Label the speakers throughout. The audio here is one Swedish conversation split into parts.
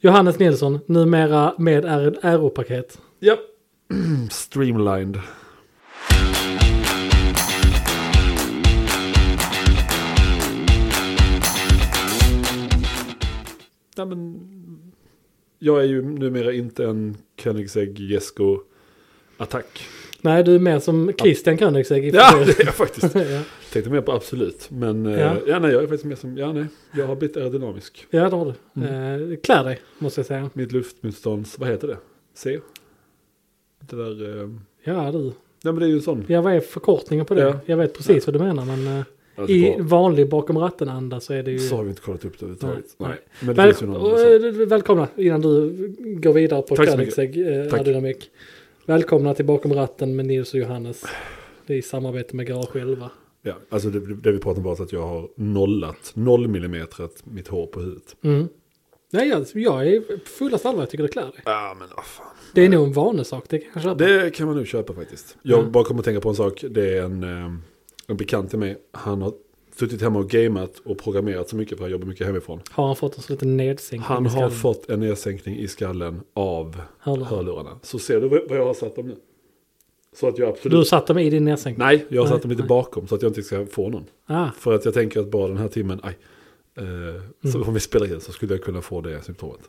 Speaker 1: Johannes Nilsson, numera med Aeropaket.
Speaker 2: Ja. Streamlined. Nej, men, jag är ju numera inte en Koenigsegg Jesko attack.
Speaker 1: Nej, du är mer som Christian Koenigsegg. i
Speaker 2: Ja,
Speaker 1: frisör.
Speaker 2: det är jag faktiskt.
Speaker 1: ja.
Speaker 2: Tänkte mer på absolut. Men eh,
Speaker 1: Ja.
Speaker 2: ja. nej, jag är faktiskt mer som, ja nej, jag har blivit aerodynamisk.
Speaker 1: ja, det har du.
Speaker 2: Mm.
Speaker 1: Eh, klär dig, måste jag säga.
Speaker 2: Mitt luftmotstånds, vad heter det? C? Det där, eh,
Speaker 1: Ja, du.
Speaker 2: nej men det är ju en sån.
Speaker 1: Ja, vad är förkortningen på det?
Speaker 2: Ja.
Speaker 1: Jag vet precis vad du menar, men eh,
Speaker 2: Alltså,
Speaker 1: i
Speaker 2: bra.
Speaker 1: vanlig bakom ratten-anda så är det ju...
Speaker 2: Så har vi inte kollat upp det överhuvudtaget.
Speaker 1: Nej,
Speaker 2: Nej.
Speaker 1: nej.
Speaker 2: Men det
Speaker 1: Väl,
Speaker 2: finns ju någon
Speaker 1: och,
Speaker 2: annan sån.
Speaker 1: eh, välkomna innan du går vidare på
Speaker 2: Tack så mycket.
Speaker 1: Koenigsegg eh,
Speaker 2: Tack.
Speaker 1: aerodynamik. Välkomna till Bakom ratten med Nils och Johannes. Det är i samarbete med Garage 11.
Speaker 2: Ja, alltså det, det vi pratar om bara är att jag har nollat, noll millimeter mitt hår på huvudet.
Speaker 1: Mm. Nej, jag, jag är på fullast allvar, jag tycker det klär dig.
Speaker 2: Ja, men vad fan.
Speaker 1: Det är nog en vanesak, det kan jag köpa.
Speaker 2: Det kan man nu köpa faktiskt. Jag
Speaker 1: Mm.
Speaker 2: bara kommer att tänka på en sak. Det är en, eh, en bekant till mig. Han har suttit hemma och gamat och programmerat så mycket för han jobbar mycket hemifrån.
Speaker 1: Har han fått en sån liten nedsänkning
Speaker 2: Han
Speaker 1: i
Speaker 2: har
Speaker 1: skallen?
Speaker 2: fått en nedsänkning i skallen av
Speaker 1: Hörlurar.
Speaker 2: hörlurarna. Så ser du vad vad jag har satt dem nu? Så att jag absolut...
Speaker 1: Du satt dem i din nedsänkning?
Speaker 2: Nej, jag har
Speaker 1: Nej,
Speaker 2: satt dem lite
Speaker 1: nej.
Speaker 2: bakom så att jag inte ska få någon.
Speaker 1: Ah,
Speaker 2: För att jag tänker att bara den här timmen, aj, eh, så om vi spelar in så skulle jag kunna få det symptomet.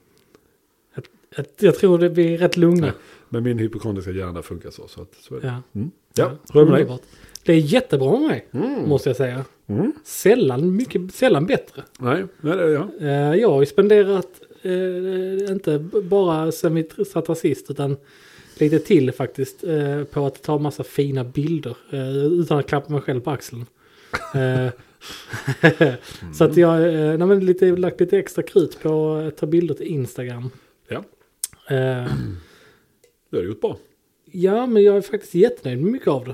Speaker 1: jag, jag tror det blir rätt lugna.
Speaker 2: Men min hypokondriska hjärna funkar så. så, att, så är det.
Speaker 1: Ja.
Speaker 2: Mm. Ja, rör med dig.
Speaker 1: Underbart. Det är jättebra med mig, måste jag säga.
Speaker 2: Mm.
Speaker 1: Sällan, mycket, sällan bättre.
Speaker 2: Nej, nej, det är jag.
Speaker 1: Eh, jag har ju spenderat, eh, inte b- bara sen vi satt sist, utan lite till faktiskt, eh, på att ta massa fina bilder eh, utan att klappa mig själv på axeln. Eh, Så
Speaker 2: Mm.
Speaker 1: att jag eh, nej, men lite, lagt lite extra krut på att ta bilder till Instagram.
Speaker 2: Ja,
Speaker 1: Eh,
Speaker 2: det har du gjort bra.
Speaker 1: ja, men jag är faktiskt jättenöjd med mycket av det.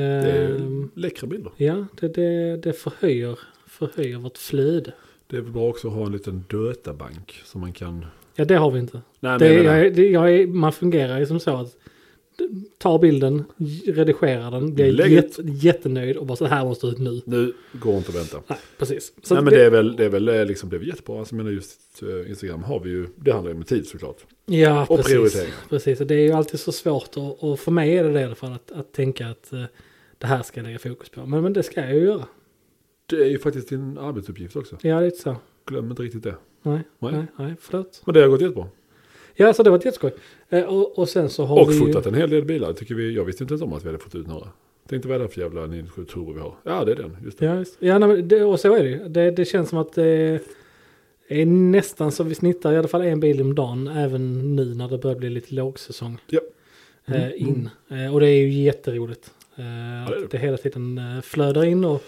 Speaker 1: Eh,
Speaker 2: Det är läckra bilder.
Speaker 1: Ja, det, det, det förhöjer, förhöjer vårt flöde.
Speaker 2: Det är väl bra också att ha en liten databank som man kan...
Speaker 1: Ja, det har vi inte.
Speaker 2: Nej,
Speaker 1: Det,
Speaker 2: men,
Speaker 1: jag, är- det, jag är, man fungerar ju som så att d- tar bilden, j- redigerar den, blir
Speaker 2: Lägg
Speaker 1: jätt, jättenöjd och bara så här måste det ut nu.
Speaker 2: Nu går inte att vänta.
Speaker 1: Nej, precis. Så
Speaker 2: Nej,
Speaker 1: att
Speaker 2: men det är väl, det är väl eh, liksom, det är väl jättebra. Alltså, jag menar just eh, Instagram har vi ju, det handlar ju om tid såklart.
Speaker 1: ja,
Speaker 2: och
Speaker 1: precis.
Speaker 2: prioriteringar.
Speaker 1: precis. Och Det är ju alltid så svårt och, och för mig är det det i alla fall att, att tänka att eh, det här ska jag lägga fokus på. Men, men det ska jag ju göra.
Speaker 2: Det är ju faktiskt din arbetsuppgift också.
Speaker 1: Ja, det är inte så.
Speaker 2: Glöm inte riktigt det.
Speaker 1: Nej, nej,
Speaker 2: Nej.
Speaker 1: nej, förlåt.
Speaker 2: Men det har gått jättebra.
Speaker 1: Ja, så det var ett jätteskoj. Eh, och, och sen så har
Speaker 2: Och
Speaker 1: vi ju-
Speaker 2: fotat en hel del bilar. Tycker vi, jag visste inte ens om att vi hade fått ut några. Tänkte vad är det här för jävla 97 turbo vi har? Ja, det är den. Just det.
Speaker 1: Ja, just. ja nej, men det, och så är det ju. Det, det känns som att det är nästan så vi snittar i alla fall en bil om dagen. Även nu när det börjar bli lite lågsäsong.
Speaker 2: Ja. Mm,
Speaker 1: Eh, in. Eh, och det är ju jätteroligt. Eh,
Speaker 2: det är det.
Speaker 1: att det hela tiden eh, flödar in. Och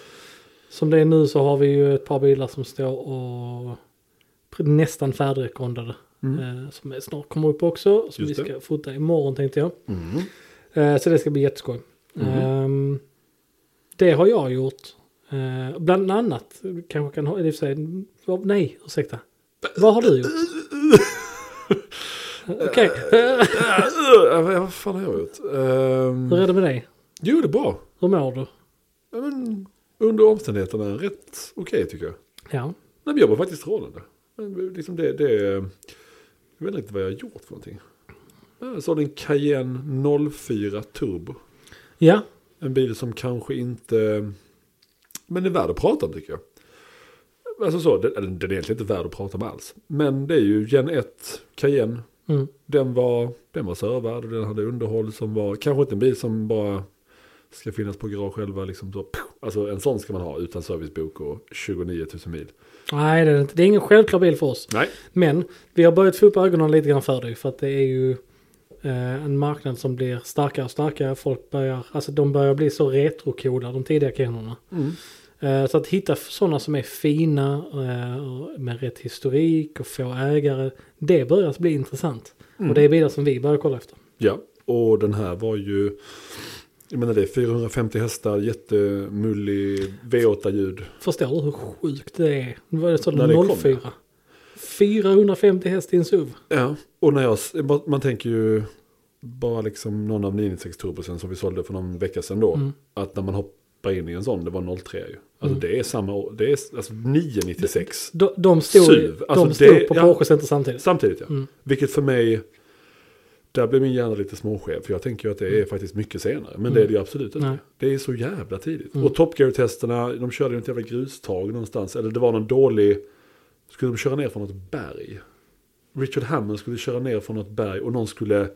Speaker 1: som det är nu så har vi ju ett par bilar som står och pr- nästan färdigrekondade. Eh, som är- snart kommer upp också. Som
Speaker 2: Mm. Just
Speaker 1: vi
Speaker 2: det.
Speaker 1: ska fota imorgon tänkte jag.
Speaker 2: Mm.
Speaker 1: Eh, Så det ska bli jätteskoj. Ehm, Det har jag gjort. Eh, Bland annat kanske kan ha, eller i och för sig, vad- nej ursäkta. Vad har du gjort? Okej, eh,
Speaker 2: Äh, vad- vad fan har jag gjort? Ehm,
Speaker 1: hur är det med dig?
Speaker 2: jo, det är bra.
Speaker 1: Hur mår du?
Speaker 2: Ja, men, under omständigheterna rätt okej tycker jag.
Speaker 1: Ja,
Speaker 2: Nej, men jag var faktiskt strålande. Men, Liksom det, det, jag vet inte riktigt vad jag har gjort för någonting. Äh, Jag sålde en Cayenne 04 Turbo.
Speaker 1: ja
Speaker 2: En bil som kanske inte... Men är värd att prata om tycker jag. Alltså så, den, eller den är egentligen inte värd att prata om alls. Men det är ju Gen 1 Cayenne.
Speaker 1: mm.
Speaker 2: Den var, den var servad och den hade underhåll som var... Kanske inte en bil som bara ska finnas på garage själva. Liksom så, alltså en sån ska man ha utan servicebok och 29 000 mil.
Speaker 1: nej det är, inte, det är ingen självklar bil för oss.
Speaker 2: Nej,
Speaker 1: Men vi har börjat få upp ögonen lite grann för dig för att det är ju eh, en marknad som blir starkare och starkare. Folk börjar, alltså de börjar bli så retrocoola de tidiga kanorna.
Speaker 2: Mm.
Speaker 1: Eh, Så att hitta sådana som är fina eh, och med rätt historik och få ägare. Det börjar bli intressant. Och
Speaker 2: Mm.
Speaker 1: det är bilar som vi börjar kolla efter.
Speaker 2: Ja, och den här var ju... Jag menar det är 450 hästar, jättemullig V8-ljud.
Speaker 1: Förstår du hur sjukt det är? Vad är det
Speaker 2: När det
Speaker 1: så
Speaker 2: kom,
Speaker 1: 04? 450 häst i en SUV.
Speaker 2: Ja, och när jag... Man tänker ju bara liksom någon av 996 turbosen som vi sålde för någon vecka sedan då. Att när man hopp, hoppa in i en sån, det var 03 ju. Alltså det är samma år, det är alltså 996.
Speaker 1: De, de stod,
Speaker 2: Suv.
Speaker 1: de
Speaker 2: Alltså,
Speaker 1: stod
Speaker 2: det-
Speaker 1: på
Speaker 2: ja.
Speaker 1: Porsche Center samtidigt.
Speaker 2: Samtidigt ja.
Speaker 1: Mm.
Speaker 2: Vilket för mig, där blir min hjärna lite småskev. För jag tänker ju att det är faktiskt mycket senare. Men det är det ju absolut inte.
Speaker 1: Mm. Nej.
Speaker 2: Det är så jävla tidigt.
Speaker 1: Mm.
Speaker 2: Och Top Gear-testerna, de körde ju ett jävla grustag någonstans. Eller det var någon dålig, skulle de köra ner från något berg? Richard Hammond skulle köra ner från något berg och någon skulle,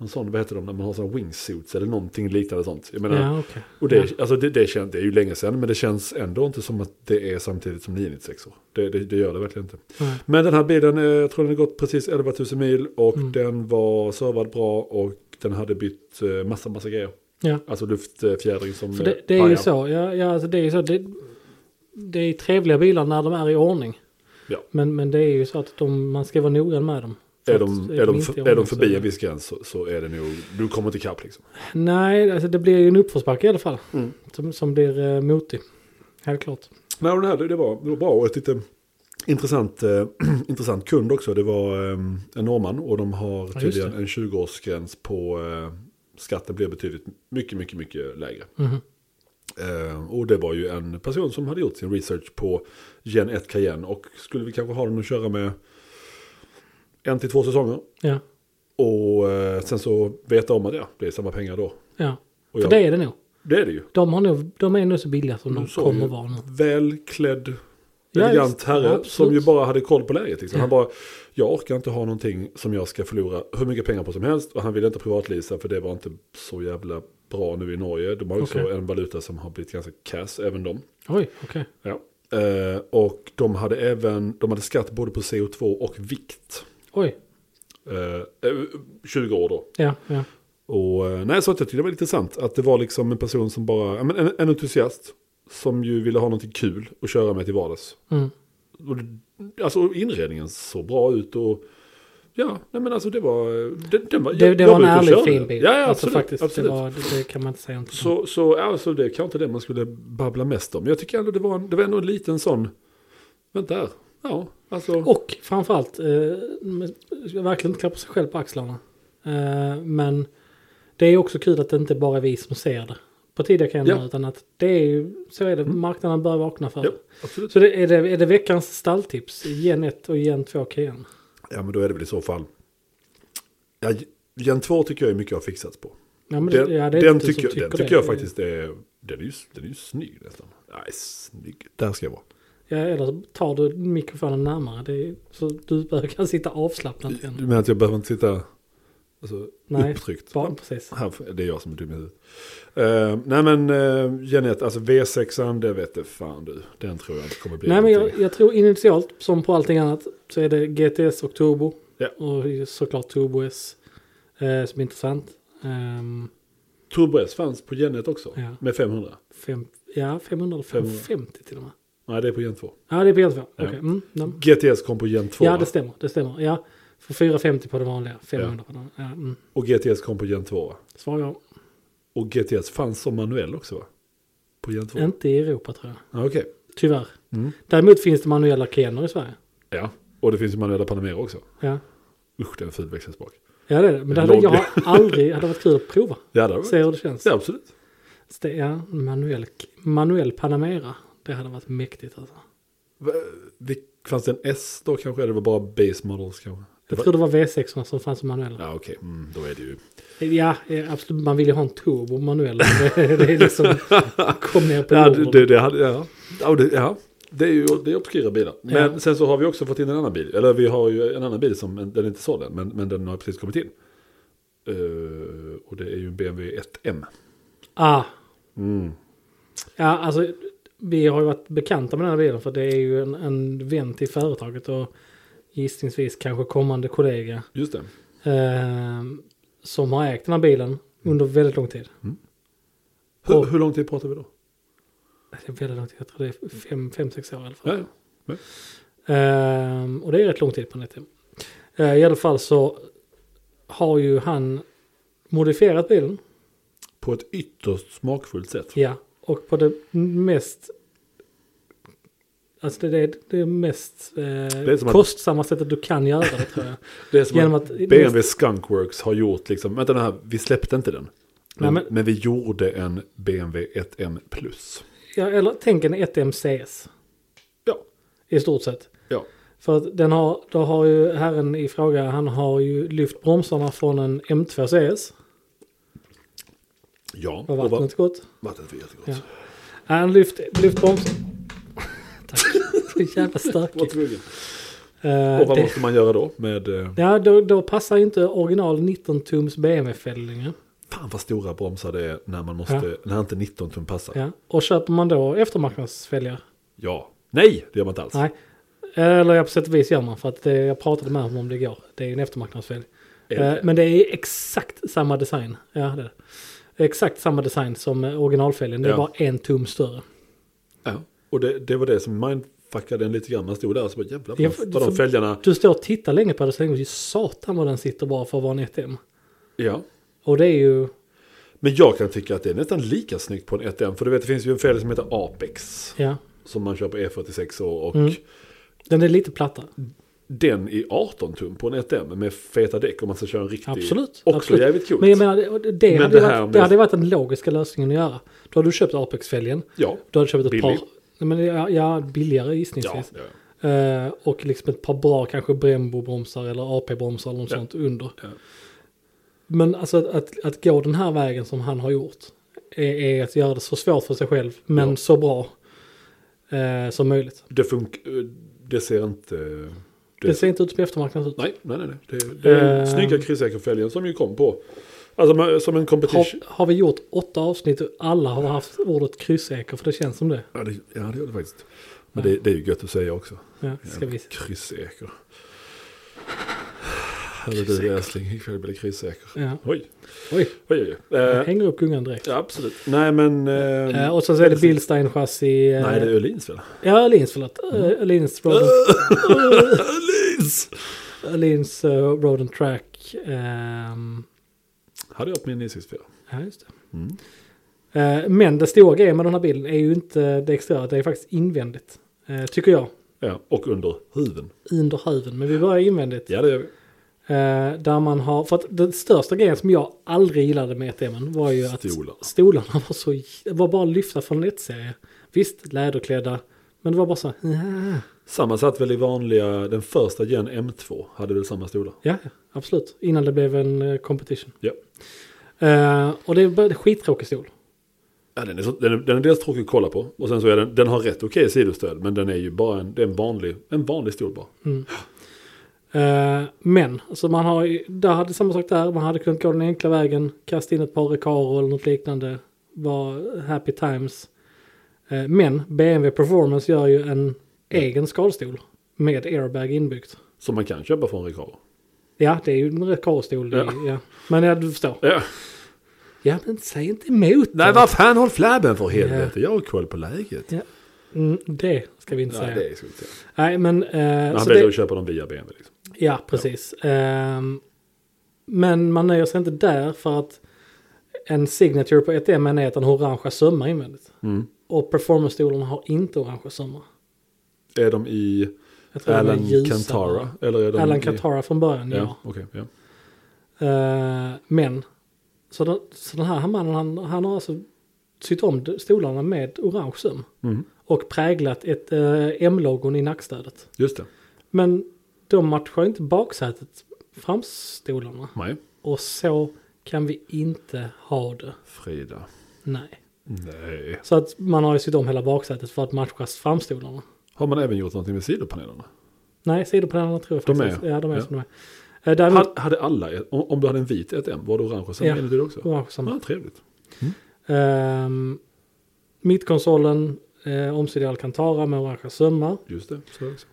Speaker 2: någon sån, vad heter de, när man har sådana wingsuits eller någonting liknande sånt. Jag menar,
Speaker 1: Ja, okej.
Speaker 2: och det,
Speaker 1: Ja.
Speaker 2: alltså det, det, känns, det är ju länge sedan, men det känns ändå inte som att det är samtidigt som 996 år. Det, det, det gör det verkligen inte.
Speaker 1: Nej.
Speaker 2: Men den här bilen, eh, jag tror den har gått precis 11 000 mil och
Speaker 1: Mm.
Speaker 2: den var servad bra och den hade bytt eh, massa, massa grejer.
Speaker 1: Ja.
Speaker 2: Alltså luftfjädring som...
Speaker 1: För
Speaker 2: eh,
Speaker 1: det, det är ju
Speaker 2: pajar.
Speaker 1: så. Ja, ja, alltså det är ju så. Det, det är trevliga bilar när de är i ordning.
Speaker 2: Ja.
Speaker 1: Men, men det är ju så att de, man ska vara noggrann med dem.
Speaker 2: Är
Speaker 1: För att
Speaker 2: de, är de,
Speaker 1: inte i
Speaker 2: för, är
Speaker 1: ordning
Speaker 2: de
Speaker 1: så-
Speaker 2: förbi en viss gräns så, så är det nog, du kommer inte ikapp liksom.
Speaker 1: Nej, alltså det blir ju en uppförsbacke i alla fall.
Speaker 2: Mm.
Speaker 1: Som, som blir eh, motig. Helt klart.
Speaker 2: Nej, och den här, det, det, var, det var bra och ett lite intressant, eh, intressant kund också. Det var eh, en norrman och de har
Speaker 1: det.
Speaker 2: tydligen en 20-årsgräns på eh, skatten blev betydligt mycket, mycket, mycket lägre.
Speaker 1: Mhm.
Speaker 2: Eh, och det var ju en person som hade gjort sin research på Gen 1 Cayenne och skulle vi kanske ha den att köra med en till två säsonger.
Speaker 1: Ja,
Speaker 2: Och eh, sen så veta om att ja, det är samma pengar då.
Speaker 1: ja.
Speaker 2: Och
Speaker 1: För
Speaker 2: jag,
Speaker 1: det är det nog.
Speaker 2: det är det ju.
Speaker 1: De, har nog, de är nog så billiga som de
Speaker 2: Du sa
Speaker 1: kommer
Speaker 2: ju
Speaker 1: vara nu.
Speaker 2: Välklädd,
Speaker 1: Ja,
Speaker 2: elegant
Speaker 1: visst.
Speaker 2: herre
Speaker 1: Absolut.
Speaker 2: som ju bara hade koll på läget. Liksom.
Speaker 1: Ja.
Speaker 2: Han bara, jag orkar inte ha någonting som jag ska förlora hur mycket pengar på som helst. Och han ville inte privatlisa för det var inte så jävla bra nu i Norge. De har ju också
Speaker 1: Okej.
Speaker 2: en valuta som har blivit ganska kass, även de.
Speaker 1: Oj, okej.
Speaker 2: Ja. Eh, och de hade även, de hade skatt både på CO2 och vikt.
Speaker 1: Oj,
Speaker 2: Eh, eh, 20 år då.
Speaker 1: ja, ja.
Speaker 2: Och eh, nej, så att jag tyckte det var lite sant. Att det var liksom en person som bara, ja, men en, en entusiast. Som ju ville ha någonting kul att köra med till vardags.
Speaker 1: Mm.
Speaker 2: Och, det- alltså inredningen såg bra ut och ja, nej men alltså det var... Det, den var,
Speaker 1: Det,
Speaker 2: jag-
Speaker 1: det
Speaker 2: jag
Speaker 1: var en
Speaker 2: ute och
Speaker 1: ärlig
Speaker 2: körde
Speaker 1: fin
Speaker 2: den.
Speaker 1: bil.
Speaker 2: Ja, ja
Speaker 1: alltså,
Speaker 2: absolut.
Speaker 1: faktiskt,
Speaker 2: absolut.
Speaker 1: Det, var, det, det kan man inte säga inte.
Speaker 2: Så, så alltså, det kanske inte det man skulle babbla mest om. Jag tycker ändå det var, en, det var ändå en liten sån... Vänta här. Ja, alltså...
Speaker 1: Och framförallt, eh, men jag ska verkligen inte klappa sig själv på axlarna. Eh, men det är också kul att det inte bara är vi som ser det på tidiga kalendrar.
Speaker 2: Ja. Mm.
Speaker 1: Utan att det är ju, så är det, marknaden börjar vakna för
Speaker 2: ja,
Speaker 1: det.
Speaker 2: absolut.
Speaker 1: Så det, är, det, är det veckans stalltips? Gen 1 och Gen 2 KN.
Speaker 2: Ja, men då är det väl i så fall... Ja, Gen 2 tycker jag är mycket har fixats på.
Speaker 1: Ja, men
Speaker 2: Den,
Speaker 1: det- ja, det är
Speaker 2: den,
Speaker 1: inte du
Speaker 2: tycker,
Speaker 1: som
Speaker 2: jag- den
Speaker 1: det.
Speaker 2: tycker jag faktiskt är... Den är ju, den är ju snygg nästan. Nej, snygg. Där ska jag vara.
Speaker 1: Ja, eller så tar du mikrofonen närmare. Det är, så du bör- kan sitta avslappnat
Speaker 2: Du
Speaker 1: igen.
Speaker 2: menar att jag behöver inte sitta alltså,
Speaker 1: Nej,
Speaker 2: upptryckt?
Speaker 1: Bara, precis.
Speaker 2: Här, det är jag som är dum i huvudet. Eh, nej men uh, Jeanette, alltså V6an, det vet du fan du. Den tror jag inte kommer bli
Speaker 1: Nej men
Speaker 2: någonting.
Speaker 1: jag, jag tror initialt som på allting annat så är det GTS och Turbo.
Speaker 2: Ja.
Speaker 1: Och såklart Turbo S eh, som är intressant. Ehm,
Speaker 2: Turbo S fanns på Jeanette också,
Speaker 1: Ja.
Speaker 2: med 500.
Speaker 1: fem, ja 500 eller 550 till och med.
Speaker 2: Nej, det är på Gen 2.
Speaker 1: Ja det är på G2.
Speaker 2: Ja.
Speaker 1: Okej, mm, ja.
Speaker 2: GTS kom på Gen 2
Speaker 1: ja
Speaker 2: va?
Speaker 1: det stämmer. Det stämmer. Ja. För 450 på det vanliga. 500 på den. Ja, mm.
Speaker 2: och GTS kom på Gen 2. va?
Speaker 1: Svar ja.
Speaker 2: Och GTS fanns som manuell också va? På Gen 2?
Speaker 1: Inte i Europa tror jag.
Speaker 2: Ja, Okej.
Speaker 1: Tyvärr.
Speaker 2: Mm.
Speaker 1: Däremot finns det manuella Kener i Sverige.
Speaker 2: Ja, och det finns ju manuella Panamera också.
Speaker 1: Ja.
Speaker 2: Usch, det är en ful växelspak.
Speaker 1: Ja det är det. Men det hade,
Speaker 2: Lång.
Speaker 1: jag har aldrig, hade varit kul att prova.
Speaker 2: Ja, det var
Speaker 1: Se hur det känns.
Speaker 2: Ja, absolut.
Speaker 1: Ste- Ja, manuell, manuell Panamera. Det hade varit mäktigt alltså.
Speaker 2: Va- vil- Fanns det en S då kanske? Eller var det bara base models kanske? Det
Speaker 1: Jag
Speaker 2: var...
Speaker 1: tror det var V6 som fanns som manuella.
Speaker 2: Ja, okej. Mm, då är det ju...
Speaker 1: Ja. eh, absolut. Man vill ju ha en turbo manuell. Det, det är liksom, kom ner på
Speaker 2: Ja,
Speaker 1: jorden.
Speaker 2: det, det, det hade... Ja. Ja, och det, ja. Det är ju det är obskyra bilar. Men
Speaker 1: Ja.
Speaker 2: sen så har vi också fått in en annan bil. Eller vi har ju en annan bil som, den är inte såld än, men, men den har precis kommit in. Eh, och det är ju en BMW 1M.
Speaker 1: Ah,
Speaker 2: Mm.
Speaker 1: ja, alltså, vi har ju varit bekanta med den här bilen för det är ju en, en vän till företaget och gissningsvis kanske kommande kollega
Speaker 2: Just det.
Speaker 1: eh, som har ägt den här bilen under väldigt lång tid.
Speaker 2: Hur,
Speaker 1: Och-
Speaker 2: hur lång tid pratar vi då?
Speaker 1: Det är väldigt lång tid, jag tror det är fem, fem sex år i alla fall.
Speaker 2: Ja, ja.
Speaker 1: Ehm, och det är rätt lång tid på nätet. Ehm, I alla fall så har ju han modifierat bilen.
Speaker 2: På ett ytterst smakfullt sätt.
Speaker 1: Ja. Och på det mest... Alltså det är det mest eh,
Speaker 2: är som att-
Speaker 1: kostsamma sättet du kan göra det tror jag.
Speaker 2: Det är som
Speaker 1: Genom
Speaker 2: att
Speaker 1: att...
Speaker 2: BMW Skunkworks har gjort liksom, vänta den här, vi släppte inte den.
Speaker 1: Nej,
Speaker 2: Men,
Speaker 1: men,
Speaker 2: men vi gjorde en BMW 1M Plus.
Speaker 1: ja, eller tänk en 1MCS.
Speaker 2: Ja.
Speaker 1: I stort sett.
Speaker 2: Ja.
Speaker 1: För att den har, då har ju herren i fråga, han har ju lyft bromsarna från en M2CS.
Speaker 2: Ja.
Speaker 1: Var vattnet gott?
Speaker 2: vattnet var jättegott.
Speaker 1: Ja. Han lyft, lyft bromsarna. Tack. Så jävla
Speaker 2: Var
Speaker 1: stökig.
Speaker 2: tvungen.
Speaker 1: Eh,
Speaker 2: Och vad
Speaker 1: det,
Speaker 2: måste man göra då med... eh,
Speaker 1: ja, då, då passar ju inte original 19-tums BMW-fällningar.
Speaker 2: Fan vad stora bromsar det är när man måste... När inte 19 tum passar. Ja.
Speaker 1: Ja. Och köper man då eftermarknadsfälgar?
Speaker 2: Nej, det gör man inte alls.
Speaker 1: Nej. Eller ja, på sätt och vis gör man för att det, jag pratade med honom om det igår. Det är en eftermarknadsfälg.
Speaker 2: Är det?
Speaker 1: Eh, Men det är exakt samma design. Ja, det är det. Det är Exakt samma design som eh, originalfälgen. Det är
Speaker 2: Ja.
Speaker 1: bara en tum större.
Speaker 2: Ja. Och det, det var det som mindfuckade en lite grann. Man stod där och så bara jävlar
Speaker 1: Ja,
Speaker 2: vad
Speaker 1: för-
Speaker 2: vad de
Speaker 1: för-
Speaker 2: fälgarna...
Speaker 1: Du står och tittar länge på det och tänker satan vad den sitter bra för att vara en 1M.
Speaker 2: Ja.
Speaker 1: Och det är ju...
Speaker 2: Men jag kan tycka att det är nästan lika snyggt på en 1M. För du vet det finns ju en fälg som heter Apex.
Speaker 1: Ja. Som
Speaker 2: Som man kör på E46 och, och
Speaker 1: Mm. Den är lite platta.
Speaker 2: den i 18 tum på en 1M med feta däck om man ska köra en riktig.
Speaker 1: Absolut.
Speaker 2: Också
Speaker 1: absolut.
Speaker 2: jävligt coolt.
Speaker 1: Men jag menar, det, det,
Speaker 2: Men
Speaker 1: hade,
Speaker 2: det
Speaker 1: det,
Speaker 2: här
Speaker 1: varit,
Speaker 2: med-
Speaker 1: det hade varit den logiska lösningen att göra. Då hade du köpt Apex-fälgen.
Speaker 2: Ja.
Speaker 1: Du hade köpt ett
Speaker 2: Billig.
Speaker 1: par... Nej, Men, ja, ja, billigare
Speaker 2: Ja,
Speaker 1: gissningsvis.
Speaker 2: ja.
Speaker 1: Eh, och liksom ett par bra kanske Brembo-bromsar eller AP-bromsar eller något
Speaker 2: Ja.
Speaker 1: sånt under.
Speaker 2: Ja.
Speaker 1: Men alltså att, att, att gå den här vägen som han har gjort är, är att göra det så svårt för sig själv men
Speaker 2: Ja.
Speaker 1: så bra eh, som möjligt.
Speaker 2: Det funkar... Det ser inte...
Speaker 1: Det, ser inte ut som eftermarknaden ut.
Speaker 2: Nej, nej, nej. nej. Det, det är
Speaker 1: Eh.
Speaker 2: snygga krysssäkerfälgen som ju kom på. Alltså man- som en competition.
Speaker 1: Har, har vi gjort åtta avsnitt och alla har haft ordet kryssäker för det känns som det.
Speaker 2: Ja, det, ja, det gör det faktiskt. Men
Speaker 1: Ja.
Speaker 2: det, det är ju gött att säga också.
Speaker 1: Ja, ska vi se.
Speaker 2: Kryssäker. Hörru du älskling, ikväll blir det kryssäker.
Speaker 1: Ja.
Speaker 2: Oj,
Speaker 1: Oj,
Speaker 2: oj, oj.
Speaker 1: jag
Speaker 2: Eh,
Speaker 1: hänger upp gungan direkt.
Speaker 2: ja, absolut. Nej, men... Eh,
Speaker 1: Eh, och sen så är det Bilstein-chassi. Eh,
Speaker 2: nej, det är Öhlins väl?
Speaker 1: Ja, Öhlins, förlåt. Mm. Öhlins, Robin.
Speaker 2: Öhlins!
Speaker 1: Öhlins eh, Road and Track. ehm,
Speaker 2: Hade jag på min 964.
Speaker 1: ja, just det.
Speaker 2: Mm.
Speaker 1: Eh, men det stora grejen med den här bilen är ju inte det exteriöra, det är faktiskt invändigt. eh, tycker jag.
Speaker 2: Ja, och under huven.
Speaker 1: Under huven, men vi börjar invändigt.
Speaker 2: Ja, det gör vi.
Speaker 1: Eh, där man har, för att den största grejen som jag aldrig gillade med ETM var ju att
Speaker 2: Stolarna.
Speaker 1: stolarna var så, det var bara lyfta från ett serie. Visst, läderklädda, men det var bara så, ja,
Speaker 2: Samma satt väl i vanliga, den första gen M2 hade väl samma stolar.
Speaker 1: ja, absolut. Innan det blev en eh, competition.
Speaker 2: Ja.
Speaker 1: Eh, och det är bara en skittråkig stol.
Speaker 2: Ja, den, är så, den, är, den är dels tråkig att kolla på och sen så är den, den har rätt okej sidostöd men den är ju bara en, det är en vanlig, en vanlig stol bara.
Speaker 1: Eh, men, alltså man har ju, där hade samma sak där, man hade kunnat gå den enkla vägen, kasta in ett par Recaro eller något liknande, var happy times. Eh, men BMW Performance gör ju en egen skalstol med airbag inbyggt.
Speaker 2: Som man kan köpa från Recaro.
Speaker 1: Ja, det är ju en Recaro-stol. det-
Speaker 2: Ja.
Speaker 1: Ja. Men ja, du förstår.
Speaker 2: Ja.
Speaker 1: Ja, men säg inte emot.
Speaker 2: Nej,
Speaker 1: då.
Speaker 2: vad fan håll flabben för helvete, jag har koll på läget.
Speaker 1: Ja. Mm, det ska vi inte
Speaker 2: Nej,
Speaker 1: säga.
Speaker 2: det är så inte.
Speaker 1: Nej, men... eh,
Speaker 2: Men han
Speaker 1: så
Speaker 2: väljer
Speaker 1: det-
Speaker 2: att köpa dem via BMW. Liksom.
Speaker 1: Ja, precis. Ehm, men man nöjer sig inte där för att en signature på 1M är att den har orangea sömmar invändigt.
Speaker 2: Mm.
Speaker 1: Och performance-stolarna har inte orangea sömmar.
Speaker 2: Är de i
Speaker 1: Jag tror de är
Speaker 2: Alan
Speaker 1: ljusare.
Speaker 2: Cantara? Eller är de
Speaker 1: Alan
Speaker 2: i,
Speaker 1: Cantara från början, ja.
Speaker 2: Ja, okej. ja.
Speaker 1: Ehm, men, så den, så den här mannen, han, han har alltså sytt om stolarna med orange söm.
Speaker 2: Mm.
Speaker 1: Och präglat ett eh, M-logon i nackstödet.
Speaker 2: Just det.
Speaker 1: Men de matchar inte baksätet framstolarna.
Speaker 2: Nej.
Speaker 1: Och så kan vi inte ha det.
Speaker 2: Frida.
Speaker 1: Nej.
Speaker 2: Nej.
Speaker 1: Så att man har ju sytt om hela baksätet för att matcha framstolarna.
Speaker 2: Har man även gjort någonting med sidopanelerna?
Speaker 1: Nej, sidopanelerna tror jag
Speaker 2: De
Speaker 1: faktiskt.
Speaker 2: är-
Speaker 1: Ja, de är
Speaker 2: ja.
Speaker 1: som de är. Eh, Däremot,
Speaker 2: Hade, hade alla, ett- om, om du hade en vit 1M, var det orange sen?
Speaker 1: Ja. Mm.
Speaker 2: Är det det också?
Speaker 1: orange samma.
Speaker 2: Ja, trevligt.
Speaker 1: Ehm, mittkonsolen, eh, omsydd i Alcantara med orangea sömmar.
Speaker 2: Just det, så är det också.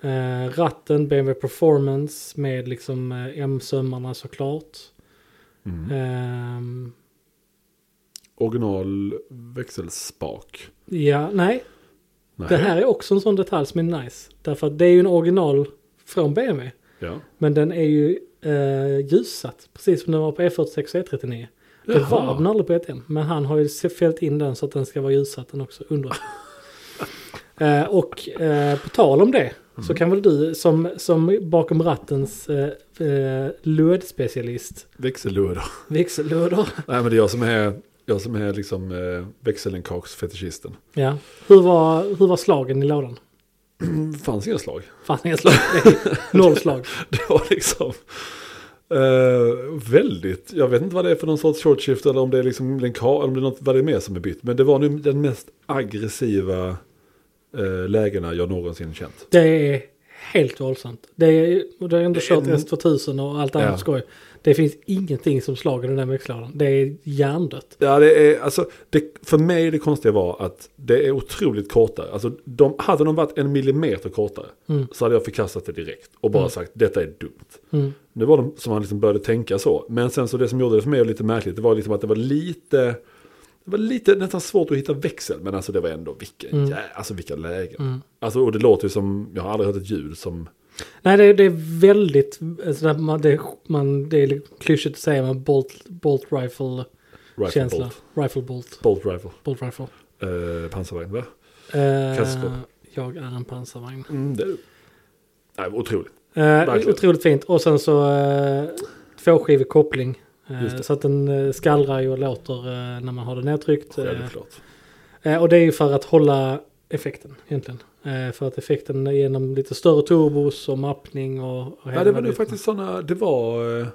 Speaker 1: Eh, ratten, BMW Performance med liksom eh, M-sömmarna såklart.
Speaker 2: Mm.
Speaker 1: Ehm,
Speaker 2: Original växelspak.
Speaker 1: ja, nej.
Speaker 2: Nej.
Speaker 1: Det här är också en sån detalj som är nice. Därför att det är ju en original från BMW.
Speaker 2: Ja.
Speaker 1: Men den är ju eh, ljussatt, precis som den var på E46 och E39. Det
Speaker 2: Jaha.
Speaker 1: var den aldrig på E1M, men han har ju se- fällt in den så att den ska vara ljussatt den också under. eh, och eh, på tal om det, Så kan väl du som, som bakom rattens eh, eh, lödspecialist,
Speaker 2: Växellådor.
Speaker 1: växellöder.
Speaker 2: Nej men det är jag som är, jag som är liksom eh, växelnkaksfetischisten.
Speaker 1: Ja. Hur, var, hur var slagen i lådan?
Speaker 2: Det fanns inga slag.
Speaker 1: Fan inga slag. Nej, Noll slag.
Speaker 2: Det var liksom eh, väldigt, jag vet inte vad det är för någon sorts short shift eller om det är liksom en ka, eller om det är något, vad det är mer som är bytt. Men det var nu den mest aggressiva eh, lägena jag någonsin känt.
Speaker 1: Det är helt våldsamt. Det är, och du har ändå
Speaker 2: Det är
Speaker 1: kört
Speaker 2: en-
Speaker 1: S2000 och allt annat
Speaker 2: Ja.
Speaker 1: skoj. Det finns ingenting som slag i den där växellådan. Det är hjärndött.
Speaker 2: Ja, det är, alltså, det, för mig det konstiga var att det är otroligt kortare. Alltså, de, hade de varit en millimeter kortare
Speaker 1: Mm.
Speaker 2: så hade jag förkastat det direkt och bara
Speaker 1: Mm.
Speaker 2: sagt detta är dumt.
Speaker 1: Mm.
Speaker 2: Det var de som han liksom började tänka så. Men sen så det som gjorde det för mig lite märkligt det var liksom att det var lite, det var lite nästan svårt att hitta växel. Men alltså det var ändå vilken,
Speaker 1: Mm.
Speaker 2: jä, alltså, vilka lägen.
Speaker 1: Mm.
Speaker 2: Alltså, och det låter ju som, jag har aldrig hört ett ljud som,
Speaker 1: Nej, det, det är väldigt, alltså, där man, det, man, det är klyschigt att säga, men bolt, bolt rifle-känsla.
Speaker 2: rifle bolt,
Speaker 1: Rifle bolt.
Speaker 2: bolt rifle,
Speaker 1: Bolt rifle.
Speaker 2: eh, pansarvagn va?
Speaker 1: Eh,
Speaker 2: Kasko.
Speaker 1: jag är en pansarvagn.
Speaker 2: Mm, det är Nej, otroligt.
Speaker 1: Eh,
Speaker 2: Verkligen.
Speaker 1: otroligt fint. Och sen så eh, tvåskivig koppling.
Speaker 2: Just
Speaker 1: Eh,
Speaker 2: det.
Speaker 1: så att den eh, skallrar ju och låter eh, när man har den nedtryckt. Eh,
Speaker 2: Självklart.
Speaker 1: eh, och det är ju för att hålla effekten egentligen. Eh, för att effekten är genom lite större turbos och mappning och, och hela
Speaker 2: Ja,
Speaker 1: den
Speaker 2: det var
Speaker 1: här
Speaker 2: nog
Speaker 1: biten.
Speaker 2: faktiskt sådana, det var, eh, vad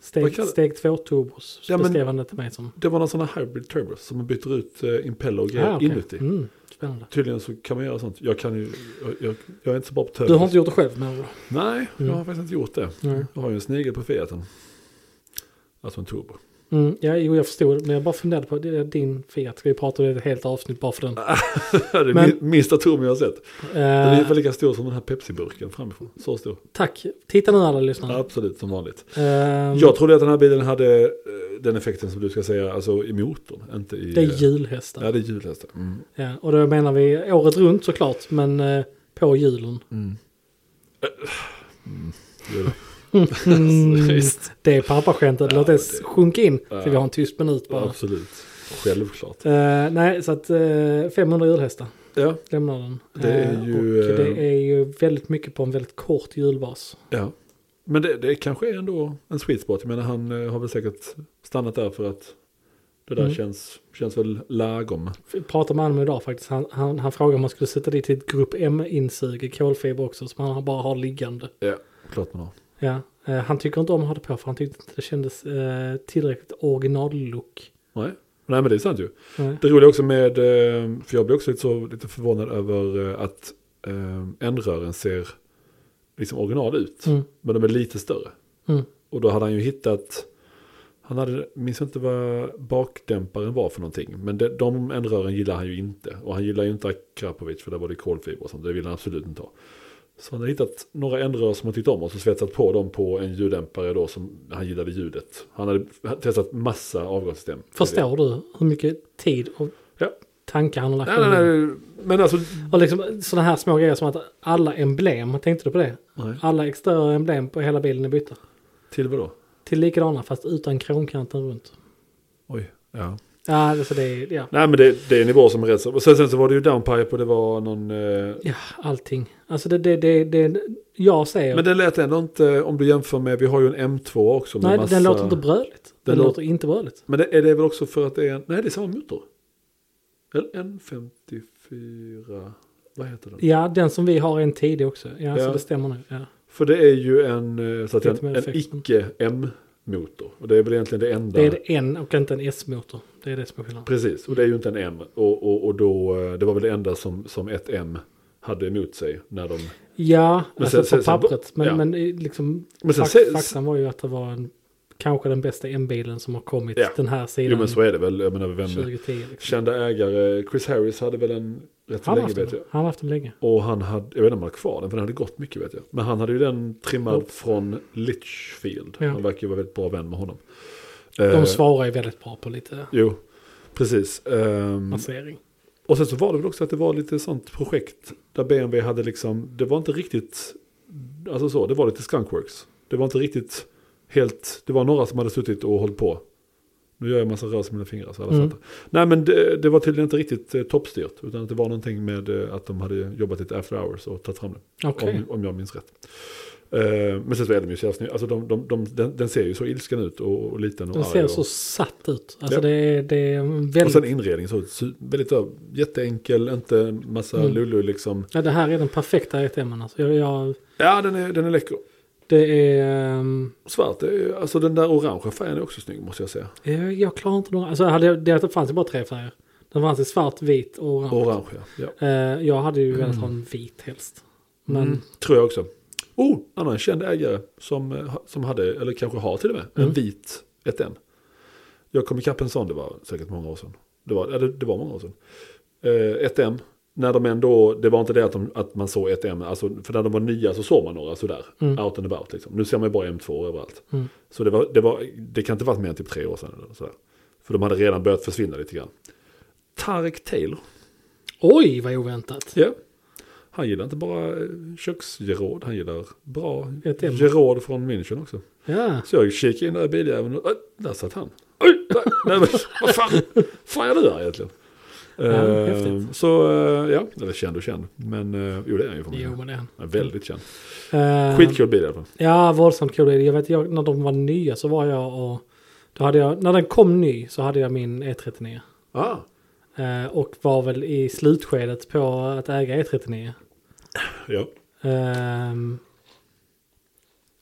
Speaker 1: Steg,
Speaker 2: kallar-
Speaker 1: steg två turbos
Speaker 2: Ja, men-
Speaker 1: beskrev han det till mig som.
Speaker 2: det var några sådana hybrid turbos som man byter ut eh, impeller och grejer
Speaker 1: Ah, okej.
Speaker 2: inuti.
Speaker 1: Mm, spännande.
Speaker 2: Tydligen så kan man göra sånt. Jag kan ju, jag, jag, jag är inte så bra på turbos.
Speaker 1: Du har inte gjort det själv med andra ord?
Speaker 2: Nej, jag
Speaker 1: Mm.
Speaker 2: har faktiskt inte gjort det.
Speaker 1: Nej.
Speaker 2: Jag har ju en snigel på Fiaten. Alltså en turbo.
Speaker 1: Mm, ja, jo, jag förstod. Men jag bara funderade på det, din Fiat. Ska vi prata om det i ett helt avsnitt bara för den?
Speaker 2: det är
Speaker 1: Men-
Speaker 2: min- minsta turbo jag har sett. Den Ah, är
Speaker 1: Eh,
Speaker 2: ungefär lika stor som den här Pepsi-burken framifrån. Så stor.
Speaker 1: Tack. Titta nu alla lyssnare.
Speaker 2: Absolut, som vanligt.
Speaker 1: Ehm,
Speaker 2: Jag trodde att den här bilen hade eh, den effekten som du ska säga, alltså i motorn. Inte i...
Speaker 1: det är
Speaker 2: eh,
Speaker 1: julhästar.
Speaker 2: Ja, det är hjulhästar. Mm.
Speaker 1: Ja, och då menar vi året runt såklart, men eh, på julen.
Speaker 2: Mm. Det är det.
Speaker 1: Mm,
Speaker 2: Visst.
Speaker 1: det är pappaskämtet,
Speaker 2: Ja,
Speaker 1: låt
Speaker 2: men
Speaker 1: det
Speaker 2: det-
Speaker 1: sjunka in.
Speaker 2: Ja.
Speaker 1: Så vi har en tyst minut bara.
Speaker 2: Absolut. Självklart.
Speaker 1: Eh, nej, så att eh, 500 julhästar
Speaker 2: Ja,
Speaker 1: lämnar den.
Speaker 2: Det är
Speaker 1: Eh,
Speaker 2: ju,
Speaker 1: och
Speaker 2: eh,
Speaker 1: det är ju väldigt mycket på en väldigt kort julbas.
Speaker 2: Ja, men det, det kanske är ändå en sweet spot. Jag menar han eh, har väl säkert stannat där för att det där
Speaker 1: Mm.
Speaker 2: känns, känns väl lagom.
Speaker 1: Jag pratade med honom idag faktiskt. Han, han, han frågade om man skulle sätta dit ett grupp M-insug i kolfiber också, som han bara har liggande.
Speaker 2: Ja. Klart man har.
Speaker 1: Ja, eh, han tycker inte om att ha det på för han tyckte inte det kändes eh, tillräckligt original-look.
Speaker 2: Nej. Nej men det är sant ju.
Speaker 1: Nej.
Speaker 2: Det roliga också med, eh, för jag blev också lite, så, lite förvånad över eh, att eh, ändrören ser liksom original ut.
Speaker 1: Mm,
Speaker 2: Men de är lite större.
Speaker 1: mm,
Speaker 2: Och då hade han ju hittat, han hade, minns inte vad bakdämparen var för någonting. Men de, de ändrören gillar han ju inte. Och han gillar ju inte Akrapovic för där var det kolfiber och sånt. Det vill han absolut inte ha. Så han hade hittat några ändrör som han tyckte om och så svetsat på dem på en ljuddämpare då som han gillade ljudet. Han hade testat massa avgassystem.
Speaker 1: Förstår du hur mycket tid och
Speaker 2: Ja.
Speaker 1: tankar han har lagt
Speaker 2: Nej, nej,
Speaker 1: in i det?
Speaker 2: nej. Men alltså...
Speaker 1: Och liksom sådana här små grejer som att alla emblem, tänkte du på det?
Speaker 2: Nej.
Speaker 1: Alla exteriöra emblem på hela bilen är bytta.
Speaker 2: Till vadå?
Speaker 1: Till likadana fast utan kronkanten runt.
Speaker 2: Oj. Ja.
Speaker 1: Ja, alltså det är, ja.
Speaker 2: Nej men det, det är nivåer som är rätt så. Och sen, sen så var det ju downpipe och det var någon... Eh,
Speaker 1: ja, allting. Alltså det, det, det, det jag säger.
Speaker 2: Men den lät ändå inte, om du jämför med, vi har ju en M2 också. Med
Speaker 1: nej,
Speaker 2: massa,
Speaker 1: den låter inte bröligt. Den,
Speaker 2: Den lå-
Speaker 1: låter inte bröligt.
Speaker 2: Men det, är det väl också för att det är en, nej det är samma motor. En N54, vad heter den?
Speaker 1: Ja, den som vi har är en tidig också. Ja,
Speaker 2: Ja.
Speaker 1: så det stämmer nu. Ja.
Speaker 2: För det är ju en, eh, så att
Speaker 1: Lite
Speaker 2: en,
Speaker 1: mer
Speaker 2: en
Speaker 1: effekt.
Speaker 2: icke-M-motor. Och det är väl egentligen det enda.
Speaker 1: Det är det en och inte en S-motor. Det är det som är skillnaden.
Speaker 2: Precis, och det är ju inte en M. Och, och, och då, eh, det var väl det enda som, som ett M hade emot sig när de...
Speaker 1: Ja,
Speaker 2: Men
Speaker 1: alltså
Speaker 2: sen-
Speaker 1: på
Speaker 2: sen- sen-
Speaker 1: pappret. Men,
Speaker 2: ja.
Speaker 1: men i- liksom,
Speaker 2: Men sen-
Speaker 1: fak-
Speaker 2: sen-
Speaker 1: faktan var ju att det var en, kanske den bästa M-bilen som har kommit
Speaker 2: Ja.
Speaker 1: den här sidan
Speaker 2: Jo men eh, så är det väl, jag menar vem...
Speaker 1: 2010. Liksom.
Speaker 2: Kända ägare, Chris Harris hade väl en rätt så
Speaker 1: Han har
Speaker 2: länge
Speaker 1: haft
Speaker 2: vet
Speaker 1: den.
Speaker 2: jag.
Speaker 1: Han har haft den länge.
Speaker 2: Och han hade, jag vet inte om han hade kvar den för den hade gått mycket vet jag. Men han hade ju den trimmad
Speaker 1: Oh.
Speaker 2: från Litchfield.
Speaker 1: Ja.
Speaker 2: Han verkar ju vara väldigt bra vän med honom. Eh, mm.
Speaker 1: De svarar ju väldigt bra på lite
Speaker 2: Jo, precis. Ehm,
Speaker 1: placering.
Speaker 2: och sen så var det väl också att det var lite sånt projekt där BMW hade liksom, det var inte riktigt, alltså så, det var lite skunkworks. Det var inte riktigt helt, det var några som hade suttit och hållit på. Nu gör jag en massa rörelser med mina fingrar så alla
Speaker 1: Mm.
Speaker 2: fattar. Nej men det, det var tydligen inte riktigt eh, toppstyrt. Utan att det var någonting med eh, att de hade jobbat lite after hours och tagit fram det.
Speaker 1: Okej.
Speaker 2: Om, om jag minns rätt. Eh, men sen så är de ju så jävla snygga. Alltså de, de, de, den, den ser ju så ilsken ut och, och liten och
Speaker 1: Den
Speaker 2: arg
Speaker 1: ser
Speaker 2: och,
Speaker 1: så satt ut. Alltså
Speaker 2: Ja.
Speaker 1: det, är, det är en
Speaker 2: och
Speaker 1: väldigt...
Speaker 2: sen inredningen så su- väldigt ö, jätteenkel, inte en massa
Speaker 1: Mm.
Speaker 2: lulu liksom.
Speaker 1: ja, det här är den perfekta ETMen alltså. Jag, jag,
Speaker 2: Ja den är, den är läcker.
Speaker 1: det är... ehm,
Speaker 2: Svart, det är, alltså den där orangea färgen är också snygg måste jag säga.
Speaker 1: jag, jag klarar inte några... Alltså hade jag, det fanns ju bara tre färger. Den fanns i svart, vit och orange.
Speaker 2: Orange ja. ja.
Speaker 1: Eh, jag hade ju velat ha en vit helst. Men
Speaker 2: Mm. Tror jag också. Oh, annan känd ägare som, eh, ha- som hade, eller kanske har till och med, en
Speaker 1: Mm.
Speaker 2: vit 1N. Jag kom ikapp en sån, det var säkert många år sedan. Det var, ja, det, det var många år sedan. Eh, 1M, när de ändå, det var inte det att, de, att man såg 1M, alltså, för när de var nya så såg man några sådär,
Speaker 1: Mm.
Speaker 2: out and about liksom. Nu ser man ju bara M2 överallt.
Speaker 1: Mm.
Speaker 2: Så det, var, det, var, det kan inte varit mer än typ tre år sedan. Eller sådär. För de hade redan börjat försvinna lite grann. Tarek Taylor.
Speaker 1: oj vad oväntat.
Speaker 2: Ja. Han gillar inte bara eh, köksgeråd, han gillar bra
Speaker 1: Ett ämne.
Speaker 2: geråd från München också.
Speaker 1: Ja.
Speaker 2: Så jag kikade in där i biljäveln och äh, där satt han. Oj, där, nej, men, vad fan, fan är det där egentligen? Eh,
Speaker 1: häftigt.
Speaker 2: så eh, ja, eller känd och känd. Men uh, jo det är han ju för mig.
Speaker 1: Jo men det är han.
Speaker 2: Han är väldigt känd.
Speaker 1: Eh,
Speaker 2: Skitkul bil i alla fall.
Speaker 1: Ja, våldsamt kul. är det. Jag vet, jag, när de var nya så var jag och... Då hade jag, när den kom ny så hade jag min E39.
Speaker 2: Ah,
Speaker 1: Eh, och var väl i slutskedet på att äga E39.
Speaker 2: ja.
Speaker 1: Ehm,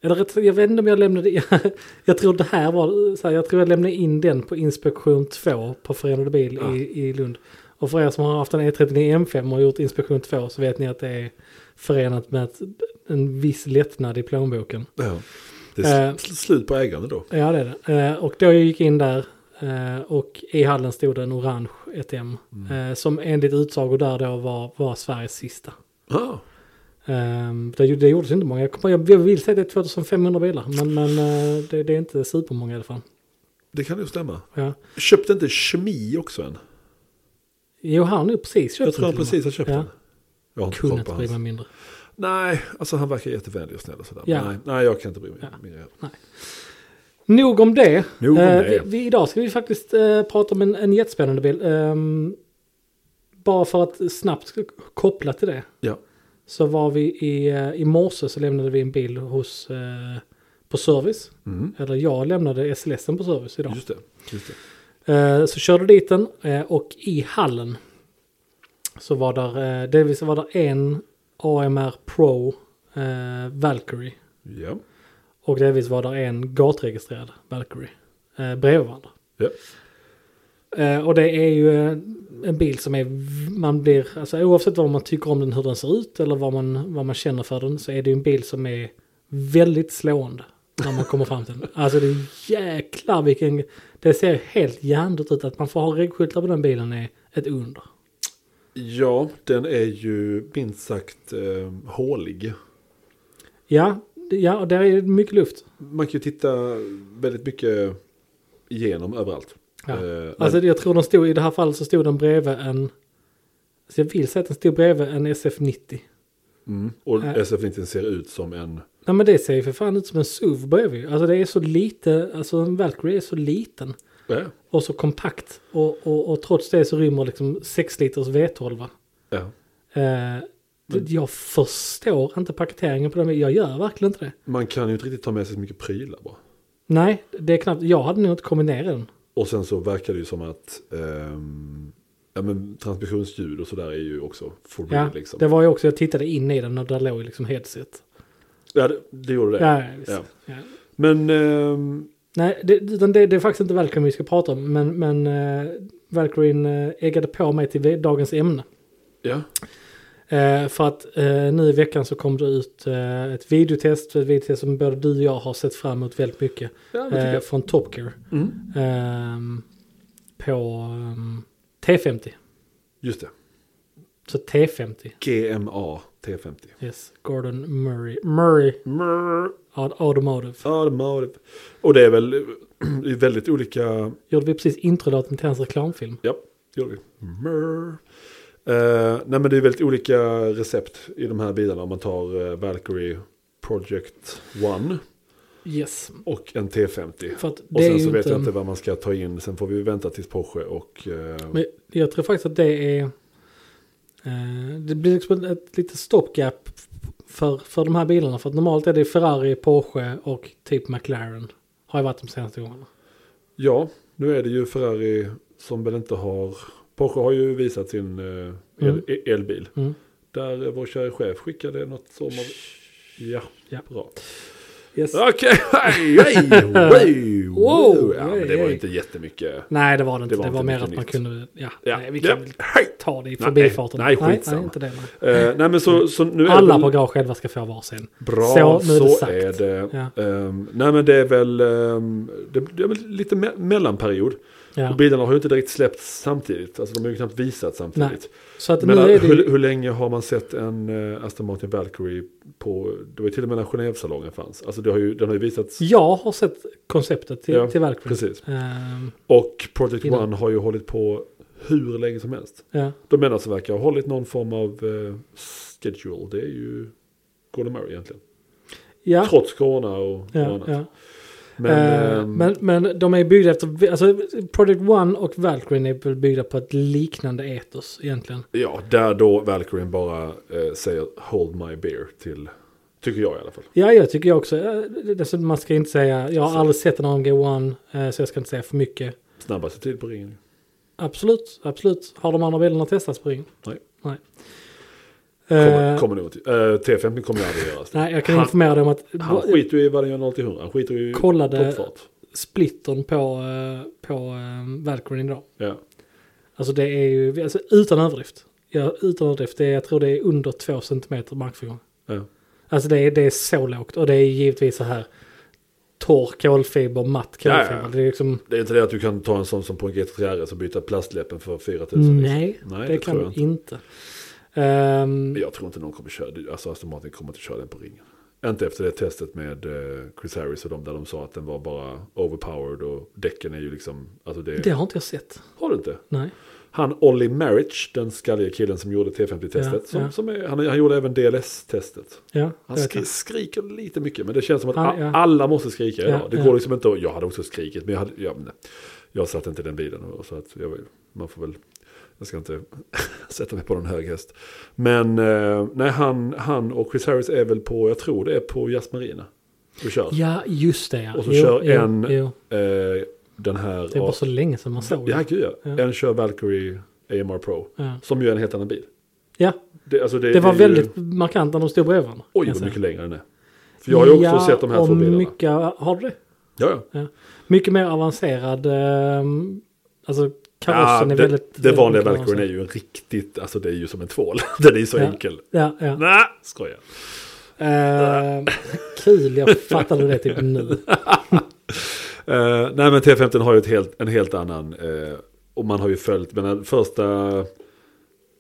Speaker 1: eller rätt, jag vet inte om jag lämnade jag, jag tror det här var så här, jag tror jag lämnade in den på inspektion 2 på Förenade Bil
Speaker 2: Ah.
Speaker 1: i, i Lund. Och för er som har haft en E E39 M5 och gjort inspektion 2 så vet ni att det är förenat med ett, en viss lättnad i plånboken.
Speaker 2: ja. Det är
Speaker 1: Eh.
Speaker 2: sl- sl- slut på ägande då.
Speaker 1: Ja det är det. Eh, och då jag gick in där eh, och i hallen stod det en orange 1M.
Speaker 2: Mm.
Speaker 1: Eh, som enligt utsagor där då var, var Sveriges sista.
Speaker 2: Ah,
Speaker 1: Ehm, det, gjorde- det gjordes inte många. Jag, kommer- jag jag vill säga det är 2500 bilar. Men, men eh, det, det är inte supermånga i alla fall.
Speaker 2: det kan ju stämma.
Speaker 1: Ja.
Speaker 2: Köpte inte Chemi också än?
Speaker 1: Jo, han har nu precis köpt
Speaker 2: Jag tror
Speaker 1: den
Speaker 2: han
Speaker 1: till
Speaker 2: precis har köpt
Speaker 1: Ja.
Speaker 2: den. Jag har
Speaker 1: och
Speaker 2: inte
Speaker 1: med.
Speaker 2: koll
Speaker 1: Kunde
Speaker 2: på
Speaker 1: inte
Speaker 2: hans-
Speaker 1: bry mig mindre.
Speaker 2: Nej, alltså han verkar jättevänlig och snäll och sådär.
Speaker 1: Ja.
Speaker 2: Nej, nej, jag kan inte bry mig.
Speaker 1: Ja.
Speaker 2: mindre.
Speaker 1: Nog om det.
Speaker 2: Nog om
Speaker 1: Eh,
Speaker 2: det.
Speaker 1: Vi, vi, idag ska vi faktiskt eh, prata om en, en jättespännande bil. Ehm, bara för att snabbt koppla till det.
Speaker 2: Ja.
Speaker 1: Så var vi i, eh, i morse så lämnade vi en bil hos, eh, på service.
Speaker 2: Mm.
Speaker 1: Eller jag lämnade SLSen på service idag.
Speaker 2: Just det. Just det.
Speaker 1: Eh, Så körde dit den eh, och i hallen så var där, eh, delvis var där en AMR Pro eh, Valkyrie
Speaker 2: Ja.
Speaker 1: och delvis var där en gatregistrerad Valkyrie eh, bredvid varandra.
Speaker 2: Ja.
Speaker 1: Eh, och det är ju eh, en bil som är, man blir, alltså oavsett vad man tycker om den, hur den ser ut eller vad man, vad man känner för den, så är det ju en bil som är väldigt slående när man kommer fram till den. Alltså det är jäklar vilken, det ser helt hjärndött ut att man får ha regskyltar på den bilen är ett under.
Speaker 2: ja, den är ju minst sagt eh, hålig.
Speaker 1: Ja, det- ja och där är det mycket luft.
Speaker 2: Man kan ju titta väldigt mycket igenom överallt.
Speaker 1: Ja.
Speaker 2: Eh, men-
Speaker 1: Alltså jag tror den stod, i det här fallet så stod den bredvid en, alltså jag vill säga att den stod bredvid en SF90.
Speaker 2: mm. Och
Speaker 1: eh.
Speaker 2: SF90 ser ut som en...
Speaker 1: Nej men det ser ju för fan ut som en SUV bredvid. Alltså det är så lite, alltså en Valkyrie är så liten
Speaker 2: Ja.
Speaker 1: och så kompakt. Och, och, och trots det så rymmer liksom 6 liters V12.
Speaker 2: ja.
Speaker 1: Eh,
Speaker 2: Mm.
Speaker 1: det- Jag förstår inte paketeringen på den. Jag gör verkligen inte det.
Speaker 2: Man kan ju inte riktigt ta med sig så mycket prylar bara.
Speaker 1: Nej, det är knappt. Jag hade nog inte kommit ner i den.
Speaker 2: Och sen så verkar det ju som att ehm, ja, men, transmissionsljud och sådär är ju också for real
Speaker 1: Ja,
Speaker 2: liksom.
Speaker 1: det var ju också, jag tittade in i den och där låg ju liksom headset.
Speaker 2: Ja, det, det gjorde det.
Speaker 1: Ja, visst.
Speaker 2: Ja.
Speaker 1: Ja.
Speaker 2: Men ehm,
Speaker 1: Nej, det, utan det, det är faktiskt inte Valkyrie vi ska prata om. Men, men eh, Valkyrien eh, eggade på mig till dagens ämne.
Speaker 2: ja.
Speaker 1: Eh, för att eh, nu i veckan så kom det ut eh, ett videotest, ett videotest som både du och jag har sett fram emot väldigt mycket.
Speaker 2: Ja, men tycker
Speaker 1: Eh,
Speaker 2: jag.
Speaker 1: från Top Gear.
Speaker 2: Mm.
Speaker 1: Ehm, på ehm, T50.
Speaker 2: Just det.
Speaker 1: Så T50.
Speaker 2: GMA T50.
Speaker 1: Yes, Gordon Murray. Murray
Speaker 2: Mrr,
Speaker 1: Aud- Automotive.
Speaker 2: automotive. Och det är väl det är väldigt olika.
Speaker 1: Gjorde vi precis introlåten till hans reklamfilm.
Speaker 2: Ja, det gjorde vi. Mrr. Eh, nej men det är väldigt olika recept i de här bilarna. Om man tar eh, Valkyrie Project One.
Speaker 1: Yes.
Speaker 2: och en T50.
Speaker 1: För att det
Speaker 2: Och
Speaker 1: är
Speaker 2: sen
Speaker 1: ju
Speaker 2: så vet
Speaker 1: inte,
Speaker 2: jag inte vad man ska ta in. Sen får vi vänta tills Porsche och... eh,
Speaker 1: Men jag tror faktiskt att det är... Eh, det blir liksom ett litet stoppgap för, för de här bilarna. För att normalt är det Ferrari, Porsche och typ McLaren. Har jag varit de senaste gångerna.
Speaker 2: Ja, nu är det ju Ferrari som väl inte har... Porsche har ju visat sin eh, el,
Speaker 1: Mm.
Speaker 2: e- elbil.
Speaker 1: Mm.
Speaker 2: Där eh, vår kära chef skickade något som av... Ja,
Speaker 1: Ja.
Speaker 2: bra.
Speaker 1: Yes.
Speaker 2: Okej, hej, hej, hej,
Speaker 1: Wow,
Speaker 2: ja, men Det var
Speaker 1: hej.
Speaker 2: ju inte jättemycket.
Speaker 1: Nej, det var det inte. Det var,
Speaker 2: var inte
Speaker 1: mer
Speaker 2: mycket
Speaker 1: att man
Speaker 2: nytt.
Speaker 1: kunde... Ja,
Speaker 2: Ja.
Speaker 1: Nej, vi kan väl
Speaker 2: ja. hej.
Speaker 1: ta det i
Speaker 2: Nej,
Speaker 1: förbifarten.
Speaker 2: nej, skitsamma.
Speaker 1: nej, inte det. Nej.
Speaker 2: Eh, nej men så, så nu är det
Speaker 1: Alla
Speaker 2: väl-
Speaker 1: på garage själva ska få varsin.
Speaker 2: Bra,
Speaker 1: Så,
Speaker 2: så,
Speaker 1: nu är det sagt.
Speaker 2: är det.
Speaker 1: Ja.
Speaker 2: Ehm, nej men det är väl, ehm, det, det är väl lite me- mellanperiod.
Speaker 1: Ja.
Speaker 2: Och bilarna har ju inte direkt släppts samtidigt. Alltså de har ju knappt visat samtidigt.
Speaker 1: Så att
Speaker 2: Men
Speaker 1: nu är det...
Speaker 2: hur, hur länge har man sett en eh, Aston Martin Valkyrie på, det var ju till och med när Genèvesalongen fanns. Alltså det har ju, den har ju visats.
Speaker 1: Jag har sett konceptet till,
Speaker 2: Ja,
Speaker 1: till Valkyrie.
Speaker 2: precis.
Speaker 1: Ehm,
Speaker 2: Och Project
Speaker 1: Innan.
Speaker 2: One har ju hållit på hur länge som helst.
Speaker 1: ja.
Speaker 2: De enda som verkar ha hållit någon form av eh, schedule, det är ju Gordon Murray egentligen.
Speaker 1: Ja,
Speaker 2: Trots corona och, och
Speaker 1: ja,
Speaker 2: annat.
Speaker 1: ja.
Speaker 2: Men,
Speaker 1: Eh,
Speaker 2: ehm,
Speaker 1: men, men de är byggda efter, alltså Project One och Valkyrie är väl byggda på ett liknande etos egentligen.
Speaker 2: Ja, där då Valkyrien bara eh, säger hold my beer till, tycker jag i alla fall.
Speaker 1: Ja, jag tycker jag också, eh, det- det- man ska inte säga, jag har aldrig sett en AMG One, eh, så jag ska inte säga för mycket.
Speaker 2: Snabbaste tid på ringen.
Speaker 1: Absolut, absolut. Har de andra bilarna testats på ringen?
Speaker 2: Nej.
Speaker 1: Nej.
Speaker 2: Kommer,
Speaker 1: Eh,
Speaker 2: kommer nog till. Eh, T50 kommer jag aldrig göra.
Speaker 1: Nej, jag kan
Speaker 2: Han-
Speaker 1: informera dig om att
Speaker 2: Han skiter ju i vad den gör 0 till 100. Han skiter ju i
Speaker 1: Kollade-
Speaker 2: toppfart.
Speaker 1: splittern på, eh, på eh, Valkyrie idag.
Speaker 2: Ja.
Speaker 1: Alltså det är ju, alltså utan överdrift. Ja, utan överdrift, det är, jag tror det är under två centimeter markförgång.
Speaker 2: Ja.
Speaker 1: Alltså det är, det är så lågt och det är givetvis så här torr kolfiber, matt kolfiber.
Speaker 2: Ja, ja, ja.
Speaker 1: Det är liksom,
Speaker 2: Det är inte det att du kan ta en sån som på en GT3 RS och byta plastläppen för liksom. 4000.
Speaker 1: nej,
Speaker 2: Nej,
Speaker 1: det,
Speaker 2: det
Speaker 1: kan
Speaker 2: tror
Speaker 1: du
Speaker 2: jag
Speaker 1: inte. Ehm,
Speaker 2: Men Jag tror inte någon kommer köra det. Alltså Aston Martin kommer inte köra den på ringen. Inte efter det testet med eh, Chris Harris och dem där de sa att den var bara overpowered och däcken är ju liksom, alltså det,
Speaker 1: det har inte jag sett.
Speaker 2: har du inte.
Speaker 1: Nej.
Speaker 2: Han Olli Marriage, den skalliga killen som gjorde T50-testet.
Speaker 1: Ja,
Speaker 2: som,
Speaker 1: ja.
Speaker 2: Som är, han, han gjorde även DLS-testet.
Speaker 1: Ja,
Speaker 2: Han
Speaker 1: jag vet
Speaker 2: skri,
Speaker 1: inte.
Speaker 2: skriker lite mycket, men det känns som att
Speaker 1: Han-
Speaker 2: a-
Speaker 1: ja.
Speaker 2: alla måste skrika idag.
Speaker 1: Ja,
Speaker 2: det
Speaker 1: ja.
Speaker 2: går liksom inte att, jag hade också skrikit, men jag, hade, jag, nej, jag satt inte i den bilen. Och, så att jag, var ju- man får väl, jag ska inte sätta mig på någon hög häst. Men eh, nej, han, han och Chris Harris är väl på, jag tror det är på Jazz Marina. Och kör.
Speaker 1: ja, just det ja.
Speaker 2: Och så kör en-
Speaker 1: Jo,
Speaker 2: Eh, den här,
Speaker 1: det var så länge sedan man såg
Speaker 2: ja,
Speaker 1: det.
Speaker 2: gud, ja.
Speaker 1: Ja.
Speaker 2: En kör Valkyrie AMR Pro,
Speaker 1: Ja.
Speaker 2: som ju är en helt annan bil.
Speaker 1: ja,
Speaker 2: Det, alltså det,
Speaker 1: det var
Speaker 2: är ju-
Speaker 1: väldigt markant när de stod bredvid varandra.
Speaker 2: Oj,
Speaker 1: kan jag
Speaker 2: vad
Speaker 1: säga.
Speaker 2: mycket längre den är. För jag har ju också
Speaker 1: Ja,
Speaker 2: sett de här
Speaker 1: och
Speaker 2: två bilarna.
Speaker 1: Mycket, har du det?
Speaker 2: Ja, ja.
Speaker 1: Ja. Mycket mer avancerad, ehm, alltså karossen
Speaker 2: ja,
Speaker 1: är
Speaker 2: det,
Speaker 1: väldigt...
Speaker 2: det vanliga
Speaker 1: väldigt
Speaker 2: Valkyrien är ju en riktigt, alltså det är ju som en tvål. Den är ju så
Speaker 1: Ja.
Speaker 2: enkel.
Speaker 1: avancerad. Ja, ja.
Speaker 2: Nej, skojar.
Speaker 1: Ehm, kul, jag fattade det typ nu.
Speaker 2: Eh, nej, men T15 har ju ett helt, en helt annan, eh, och man har ju följt, men den första,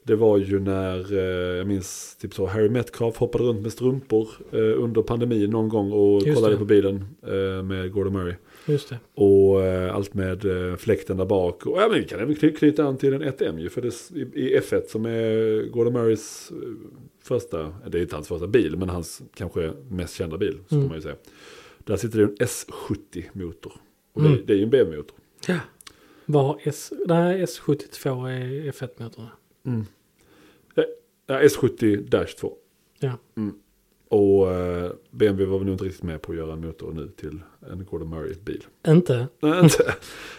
Speaker 2: det var ju när, eh, jag minns typ så, Harry Metcalf hoppade runt med strumpor eh, under pandemin någon gång och
Speaker 1: Just
Speaker 2: kollade
Speaker 1: det.
Speaker 2: på bilen eh, med Gordon Murray.
Speaker 1: Just det.
Speaker 2: Och eh, allt med eh, fläkten där bak. Och ja, men vi kan även kny- knyta an till en 1M ju. För det, s- i, i F1 som är Gordon Murrays eh, första, eh, det är inte hans första bil, men hans kanske mest kända bil. Så
Speaker 1: Mm.
Speaker 2: får man ju säga. Där sitter det en S70-motor. Och det,
Speaker 1: Mm.
Speaker 2: det är ju en BMW-motor.
Speaker 1: Var S, nej, S72 är F1-motorn.
Speaker 2: Eh, Ja, S70-2.
Speaker 1: Ja.
Speaker 2: Mm. Och eh, BMW var väl nog inte riktigt med på att göra en motor nu till en Gordon Murray-bil.
Speaker 1: Inte?
Speaker 2: Nej, inte.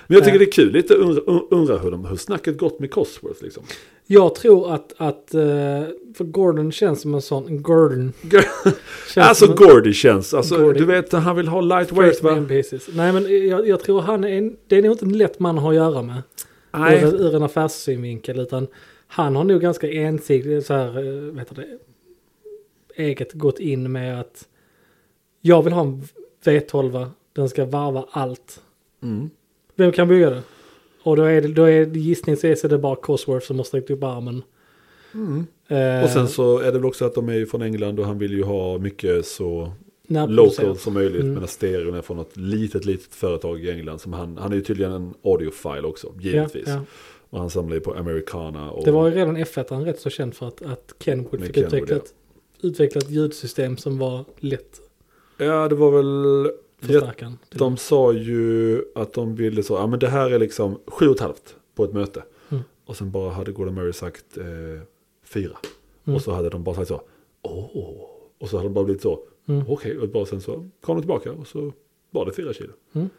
Speaker 2: Men jag tycker
Speaker 1: Nej.
Speaker 2: det är kul, lite undra, un- undra hur, de, hur snacket gått med Cosworth liksom.
Speaker 1: Jag tror att, att eh, för Gordon känns som en sån, Gordon. Känns
Speaker 2: Alltså
Speaker 1: som en-
Speaker 2: Gordy känns. Alltså,
Speaker 1: Gordy. mm.
Speaker 2: Du vet, han vill ha
Speaker 1: First
Speaker 2: lightweight va?
Speaker 1: man pieces. Nej men jag, jag tror han är, en- det är nog inte en lätt man att ha att göra med.
Speaker 2: Nej.
Speaker 1: Ur, ur en affärssynvinkel. Utan han har nog ganska ensidigt så här, eh, vad heter det, eget gått in med att jag vill ha en V12, den ska varva allt.
Speaker 2: Mm.
Speaker 1: Vem kan bygga det? Och då är det, då är det gissning så är så det bara Cosworth som har sträckt upp armen. Eh,
Speaker 2: Och sen så är det väl också att de är ju från England och han vill ju ha mycket så
Speaker 1: närproducerat.
Speaker 2: local som möjligt.
Speaker 1: Mm.
Speaker 2: Medan stereon är från något litet, litet företag i England. Som han, han är ju tydligen en audiofile också,
Speaker 1: Ja,
Speaker 2: givetvis.
Speaker 1: ja.
Speaker 2: Och han samlar ju på Americana och...
Speaker 1: Det var ju redan F1 han rätt så känd för att, att Kenwood
Speaker 2: Med
Speaker 1: fick
Speaker 2: Kenwood,
Speaker 1: utveckla ett, utveckla ett ljudsystem som var lätt.
Speaker 2: Ja, det var väl...
Speaker 1: förstärkaren.
Speaker 2: De sa ju att de ville så, ja men det här är liksom sju och ett halvt på ett möte.
Speaker 1: Mm.
Speaker 2: Och sen bara hade Gordon Murray sagt eh, fyra.
Speaker 1: Mm.
Speaker 2: Och så hade de bara sagt så, åh. Och så hade de bara blivit så,
Speaker 1: Mm.
Speaker 2: okej. Och bara sen så kom de tillbaka och så var det fyra kilo.
Speaker 1: Mm.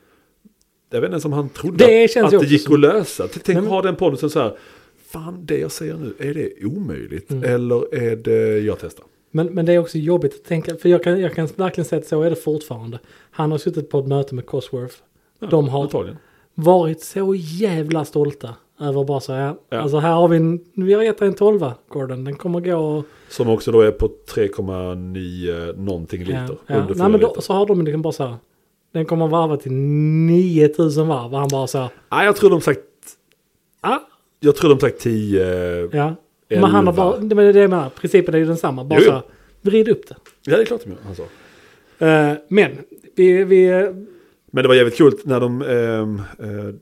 Speaker 2: Jag vet inte ens om han trodde
Speaker 1: Det
Speaker 2: att-
Speaker 1: känns
Speaker 2: att
Speaker 1: ju
Speaker 2: det
Speaker 1: också
Speaker 2: gick
Speaker 1: som-
Speaker 2: att lösa. Tänk
Speaker 1: Nej, men-
Speaker 2: ha den podden som så här, fan det jag säger nu, är det omöjligt?
Speaker 1: Mm.
Speaker 2: Eller är det jag testar?
Speaker 1: Men, men det är också jobbigt att tänka, för jag kan, jag kan verkligen säga att så är det fortfarande. Han har suttit på ett möte med Cosworth.
Speaker 2: Ja,
Speaker 1: De har-
Speaker 2: Antagligen.
Speaker 1: Varit så jävla stolta över bara så här.
Speaker 2: Ja.
Speaker 1: Alltså här har vi en, vi har gett dig en tolva Gordon. Den kommer gå och...
Speaker 2: Som också då är på 3,9 någonting liter.
Speaker 1: Ja, ja.
Speaker 2: Under
Speaker 1: Nej
Speaker 2: 4
Speaker 1: men
Speaker 2: liter.
Speaker 1: då, så har de liksom bara så här. Den kommer varva till 9000 varv. Och han bara så här.
Speaker 2: Nej, jag tror de sagt,
Speaker 1: Ah,
Speaker 2: jag tror de sagt 10. eh,
Speaker 1: ja.
Speaker 2: Elva.
Speaker 1: Men han har bara, det är det jag menar. Principen är ju densamma. Bara
Speaker 2: Jo, jo.
Speaker 1: så här. Vrid upp det.
Speaker 2: Ja, det är klart de gör, han sa.
Speaker 1: Eh, men, vi, vi,
Speaker 2: Men det var jävligt kul när de, ehm, eh,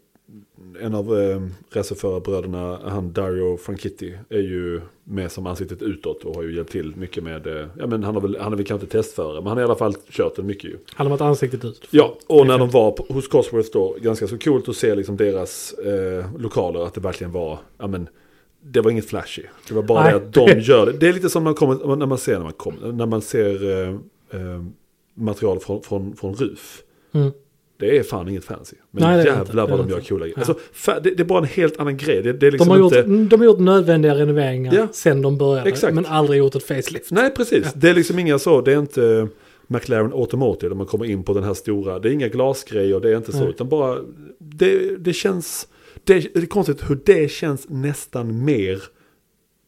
Speaker 2: en av eh, racerförarbröderna, han Dario Franchitti, är ju med som ansiktet utåt och har ju hjälpt till mycket med, eh, ja men han, har väl, han är väl kanske inte testförare, men han har i alla fall kört den mycket ju.
Speaker 1: han har varit ansiktet ut.
Speaker 2: Ja, och när de var på, hos Cosworth då, ganska så coolt att se liksom deras eh, lokaler, att det verkligen var, ja men, det var inget flashy. Det var bara
Speaker 1: Nej.
Speaker 2: det att de gör det. Det är lite som man kommer, när man ser, när man, kommer, när man ser eh, eh, material från, från, från RUF.
Speaker 1: Mm.
Speaker 2: Det är fan inget fancy. Men
Speaker 1: Nej, det är det inte.
Speaker 2: jävlar
Speaker 1: Det är
Speaker 2: vad de
Speaker 1: det
Speaker 2: gör
Speaker 1: inte.
Speaker 2: coola grejer.
Speaker 1: Ja.
Speaker 2: Alltså, fa- det, det är bara en helt annan grej. Det, det är liksom
Speaker 1: De har, gjort, mm,
Speaker 2: inte...
Speaker 1: de har gjort nödvändiga renoveringar
Speaker 2: Ja.
Speaker 1: sen de började.
Speaker 2: Exakt.
Speaker 1: Men aldrig gjort ett facelift.
Speaker 2: Nej, precis.
Speaker 1: Ja.
Speaker 2: Det är liksom inga så. Det är inte McLaren Automotive där man kommer in på den här stora. Det är inga glasgrejer, det är inte så.
Speaker 1: Nej.
Speaker 2: Utan bara, det, det känns... Det, det är konstigt hur det känns nästan mer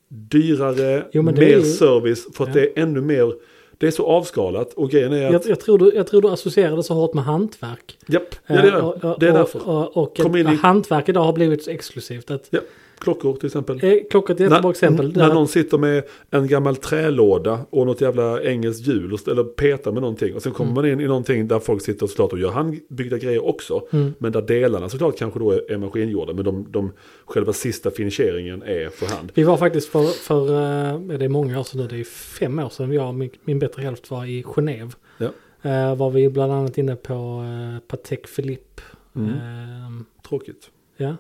Speaker 2: dyrare,
Speaker 1: Jo, men det
Speaker 2: mer
Speaker 1: är ju-
Speaker 2: service. För att
Speaker 1: Ja.
Speaker 2: det är ännu mer... Det är så avskalat och grejen är
Speaker 1: Jag,
Speaker 2: att...
Speaker 1: jag, tror du, jag tror du associerade så hårt med hantverk.
Speaker 2: Japp, ja, det, är,
Speaker 1: Eh,
Speaker 2: det. det är därför.
Speaker 1: Och, och, och
Speaker 2: Kom in
Speaker 1: att
Speaker 2: i-
Speaker 1: hantverk idag har blivit så exklusivt. Att,
Speaker 2: Ja, klockor till exempel.
Speaker 1: eh, klockan är ett jättebra exempel.
Speaker 2: När,
Speaker 1: där
Speaker 2: när någon sitter med en gammal trälåda och något jävla engelskt hjul och, st- eller petar med någonting. Och sen
Speaker 1: Mm.
Speaker 2: kommer man in i någonting där folk sitter såklart och gör handbyggda grejer också.
Speaker 1: Mm.
Speaker 2: Men där delarna såklart kanske då är, är maskingjorda. Men de, de själva sista finisheringen är för hand.
Speaker 1: Vi var faktiskt för, för eh, det är många år sedan nu, det är fem år sedan jag och min, min bättre hälft var i Genève.
Speaker 2: Ja.
Speaker 1: Eh, var vi bland annat inne på eh, Patek Philippe.
Speaker 2: Mm.
Speaker 1: Ehm,
Speaker 2: Tråkigt.
Speaker 1: ja.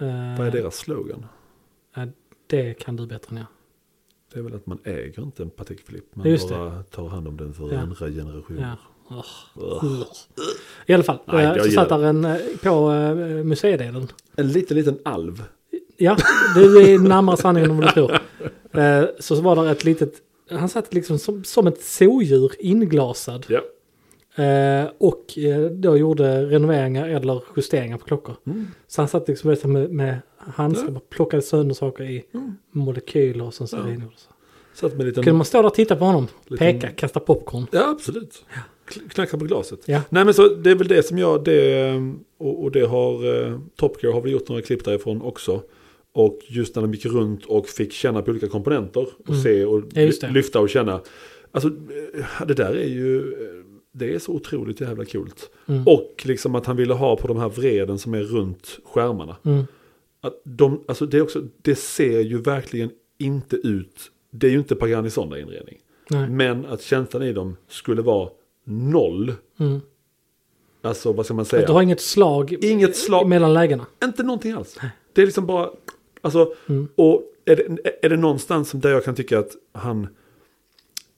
Speaker 1: Eh,
Speaker 2: Vad är deras slogan?
Speaker 1: Det kan du bättre än jag.
Speaker 2: Det är väl att man äger inte en Patek Philippe. Man
Speaker 1: Just det.
Speaker 2: bara tar hand om den för
Speaker 1: Ja.
Speaker 2: andra generationer.
Speaker 1: Ja. Ugh. I alla fall,
Speaker 2: Nej,
Speaker 1: eh,
Speaker 2: jag
Speaker 1: så
Speaker 2: gillar
Speaker 1: satt där en eh, på eh, museidelen.
Speaker 2: En liten, liten alv.
Speaker 1: Ja, du är närmare sanningen än vad du tror. Eh, Så var där ett litet, han satt liksom som, som ett sodjur inglasad.
Speaker 2: Ja.
Speaker 1: Eh, Och eh, då gjorde renoveringar eller justeringar på klockor.
Speaker 2: Mm.
Speaker 1: Så han satt liksom vet du, med, med handskar
Speaker 2: Ja. Mm.
Speaker 1: och plockade sönder saker i molekyler och sen så
Speaker 2: Ja.
Speaker 1: rengjorde så.
Speaker 2: Satt med en liten...
Speaker 1: Kunde man stå där och titta på honom,
Speaker 2: Liten-
Speaker 1: peka, kasta popcorn.
Speaker 2: Ja, absolut. Kn- Knacka på glaset.
Speaker 1: Ja.
Speaker 2: Nej men så det är väl det som jag, det, eh, och, och det har, eh, Top Gear har väl gjort några klipp därifrån också. Och just när de gick runt och fick känna på olika komponenter och
Speaker 1: Mm.
Speaker 2: se och
Speaker 1: Ja, just det.
Speaker 2: lyfta och känna. Alltså eh, det där är ju, eh, det är så otroligt jävla coolt.
Speaker 1: Mm.
Speaker 2: Och liksom att han ville ha på de här vreden som är runt skärmarna.
Speaker 1: Mm.
Speaker 2: Att de, alltså det, är också, det ser ju verkligen inte ut, det är ju inte Pagani Sonda inredning.
Speaker 1: Nej.
Speaker 2: Men att känslan i dem skulle vara noll.
Speaker 1: Mm.
Speaker 2: Alltså vad ska man
Speaker 1: Att
Speaker 2: säga?
Speaker 1: du har inget slag
Speaker 2: Inget slag,
Speaker 1: mellan lägena.
Speaker 2: inte någonting alls. Det är liksom bara, alltså,
Speaker 1: Mm.
Speaker 2: och är det, är det någonstans som där jag kan tycka att han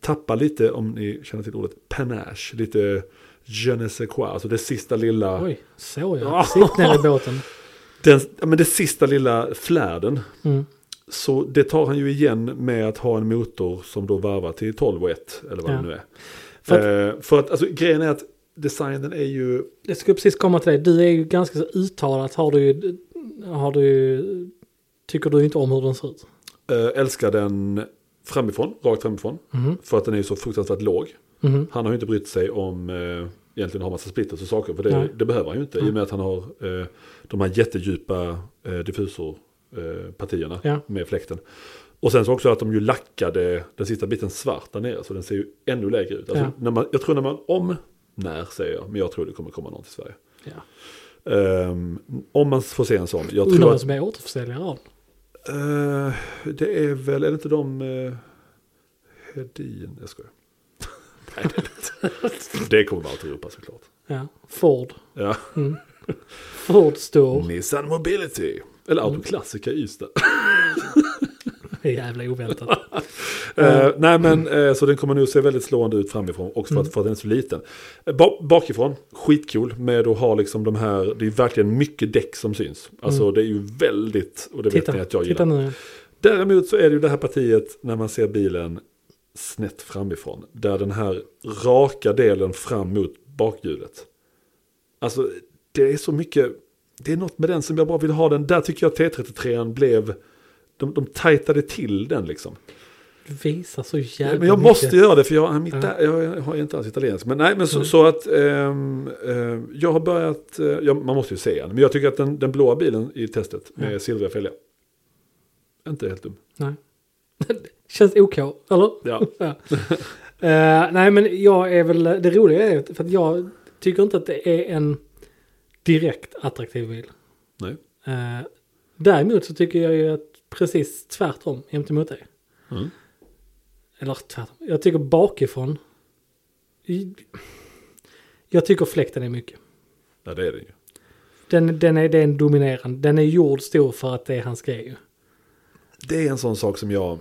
Speaker 2: tappar lite, om ni känner till ordet, panache, lite je ne sais quoi, alltså det sista lilla,
Speaker 1: Oj, så
Speaker 2: Ja.
Speaker 1: ja. Sitt ner i båten.
Speaker 2: den, ja, men det sista lilla flärden.
Speaker 1: Mm.
Speaker 2: Så det tar han ju igen med att ha en motor som då varvar till 12 och 1 eller vad
Speaker 1: Ja.
Speaker 2: det nu är.
Speaker 1: För
Speaker 2: För att, eh, för att alltså, grejen är att designen är ju
Speaker 1: Jag skulle precis komma till dig. Du är ju ganska så uttalat har du ju, har du ju, tycker du inte om hur den ser ut.
Speaker 2: Eh, älskar den framifrån, rakt framifrån.
Speaker 1: Mhm.
Speaker 2: För att den är så fruktansvärt låg.
Speaker 1: Mhm.
Speaker 2: Han har ju inte brytt sig om eh, egentligen har massa splitters och saker. För det,
Speaker 1: Nej.
Speaker 2: det behöver han ju inte. I och med att han har eh, de här jättedjupa eh, diffusorpartierna eh,
Speaker 1: Ja.
Speaker 2: partierna med fläkten. Och sen så också att de ju lackade den sista biten svart där nere. Så den ser ju ännu lägre ut. Alltså,
Speaker 1: Ja.
Speaker 2: när man, jag tror när man, om, när säger jag, men jag tror det kommer komma någon till Sverige.
Speaker 1: Ja.
Speaker 2: Ehm, om man får se en sån. Jag
Speaker 1: Undrar
Speaker 2: tror
Speaker 1: vem
Speaker 2: att,
Speaker 1: som är återförsäljare av den.
Speaker 2: Eh, det är väl, är det inte de... eh, Hedin, jag skojar. Nej, det, är inte. det kommer Autoeuropa såklart.
Speaker 1: Ja. Ford.
Speaker 2: Ja.
Speaker 1: Ford står.
Speaker 2: Nissan Mobility. Mm. Eller Autoklassiker i Ystad.
Speaker 1: Jävla oväntat.
Speaker 2: Eh, nej men eh, så den kommer nog se väldigt slående ut framifrån. Också för att, för att den är så liten. Eh, ba bakifrån, skitcool med att ha liksom de här. Det är verkligen mycket däck som syns. Alltså det är ju väldigt. Och det vet ni
Speaker 1: Titta,
Speaker 2: att jag
Speaker 1: titta
Speaker 2: gillar.
Speaker 1: nu.
Speaker 2: Däremot så är det ju det här partiet när man ser bilen snett framifrån. Där den här raka delen fram mot bakhjulet. Alltså det är så mycket. Det är något med den som jag bara vill ha den. Där tycker jag T33 blev. De, de tajtade till den liksom.
Speaker 1: Du visar så jävla
Speaker 2: Ja, men jag
Speaker 1: mycket.
Speaker 2: måste göra det för jag, är mitt,
Speaker 1: Ja.
Speaker 2: jag, jag har inte alls italiensk. Men nej, men så, så att ehm, ehm, jag har börjat, eh, ja, man måste ju se den, men jag tycker att den, den blåa bilen i testet med
Speaker 1: Ja.
Speaker 2: silvriga fälgar, inte helt dum.
Speaker 1: Nej. Känns OK, eller?
Speaker 2: Ja.
Speaker 1: Ja. Eh, nej men jag är väl, det roliga är för att jag tycker inte att det är en direkt attraktiv bil.
Speaker 2: nej.
Speaker 1: Eh, däremot så tycker jag ju att precis tvärtom gentemot dig.
Speaker 2: Mm.
Speaker 1: Eller tvärtom, jag tycker bakifrån. i- Jag tycker fläkten är mycket.
Speaker 2: Ja, det är det ju.
Speaker 1: Den, den är, det är en dominerande, den är gjord stor för att det är hans grej ju.
Speaker 2: Det är en sån sak som jag,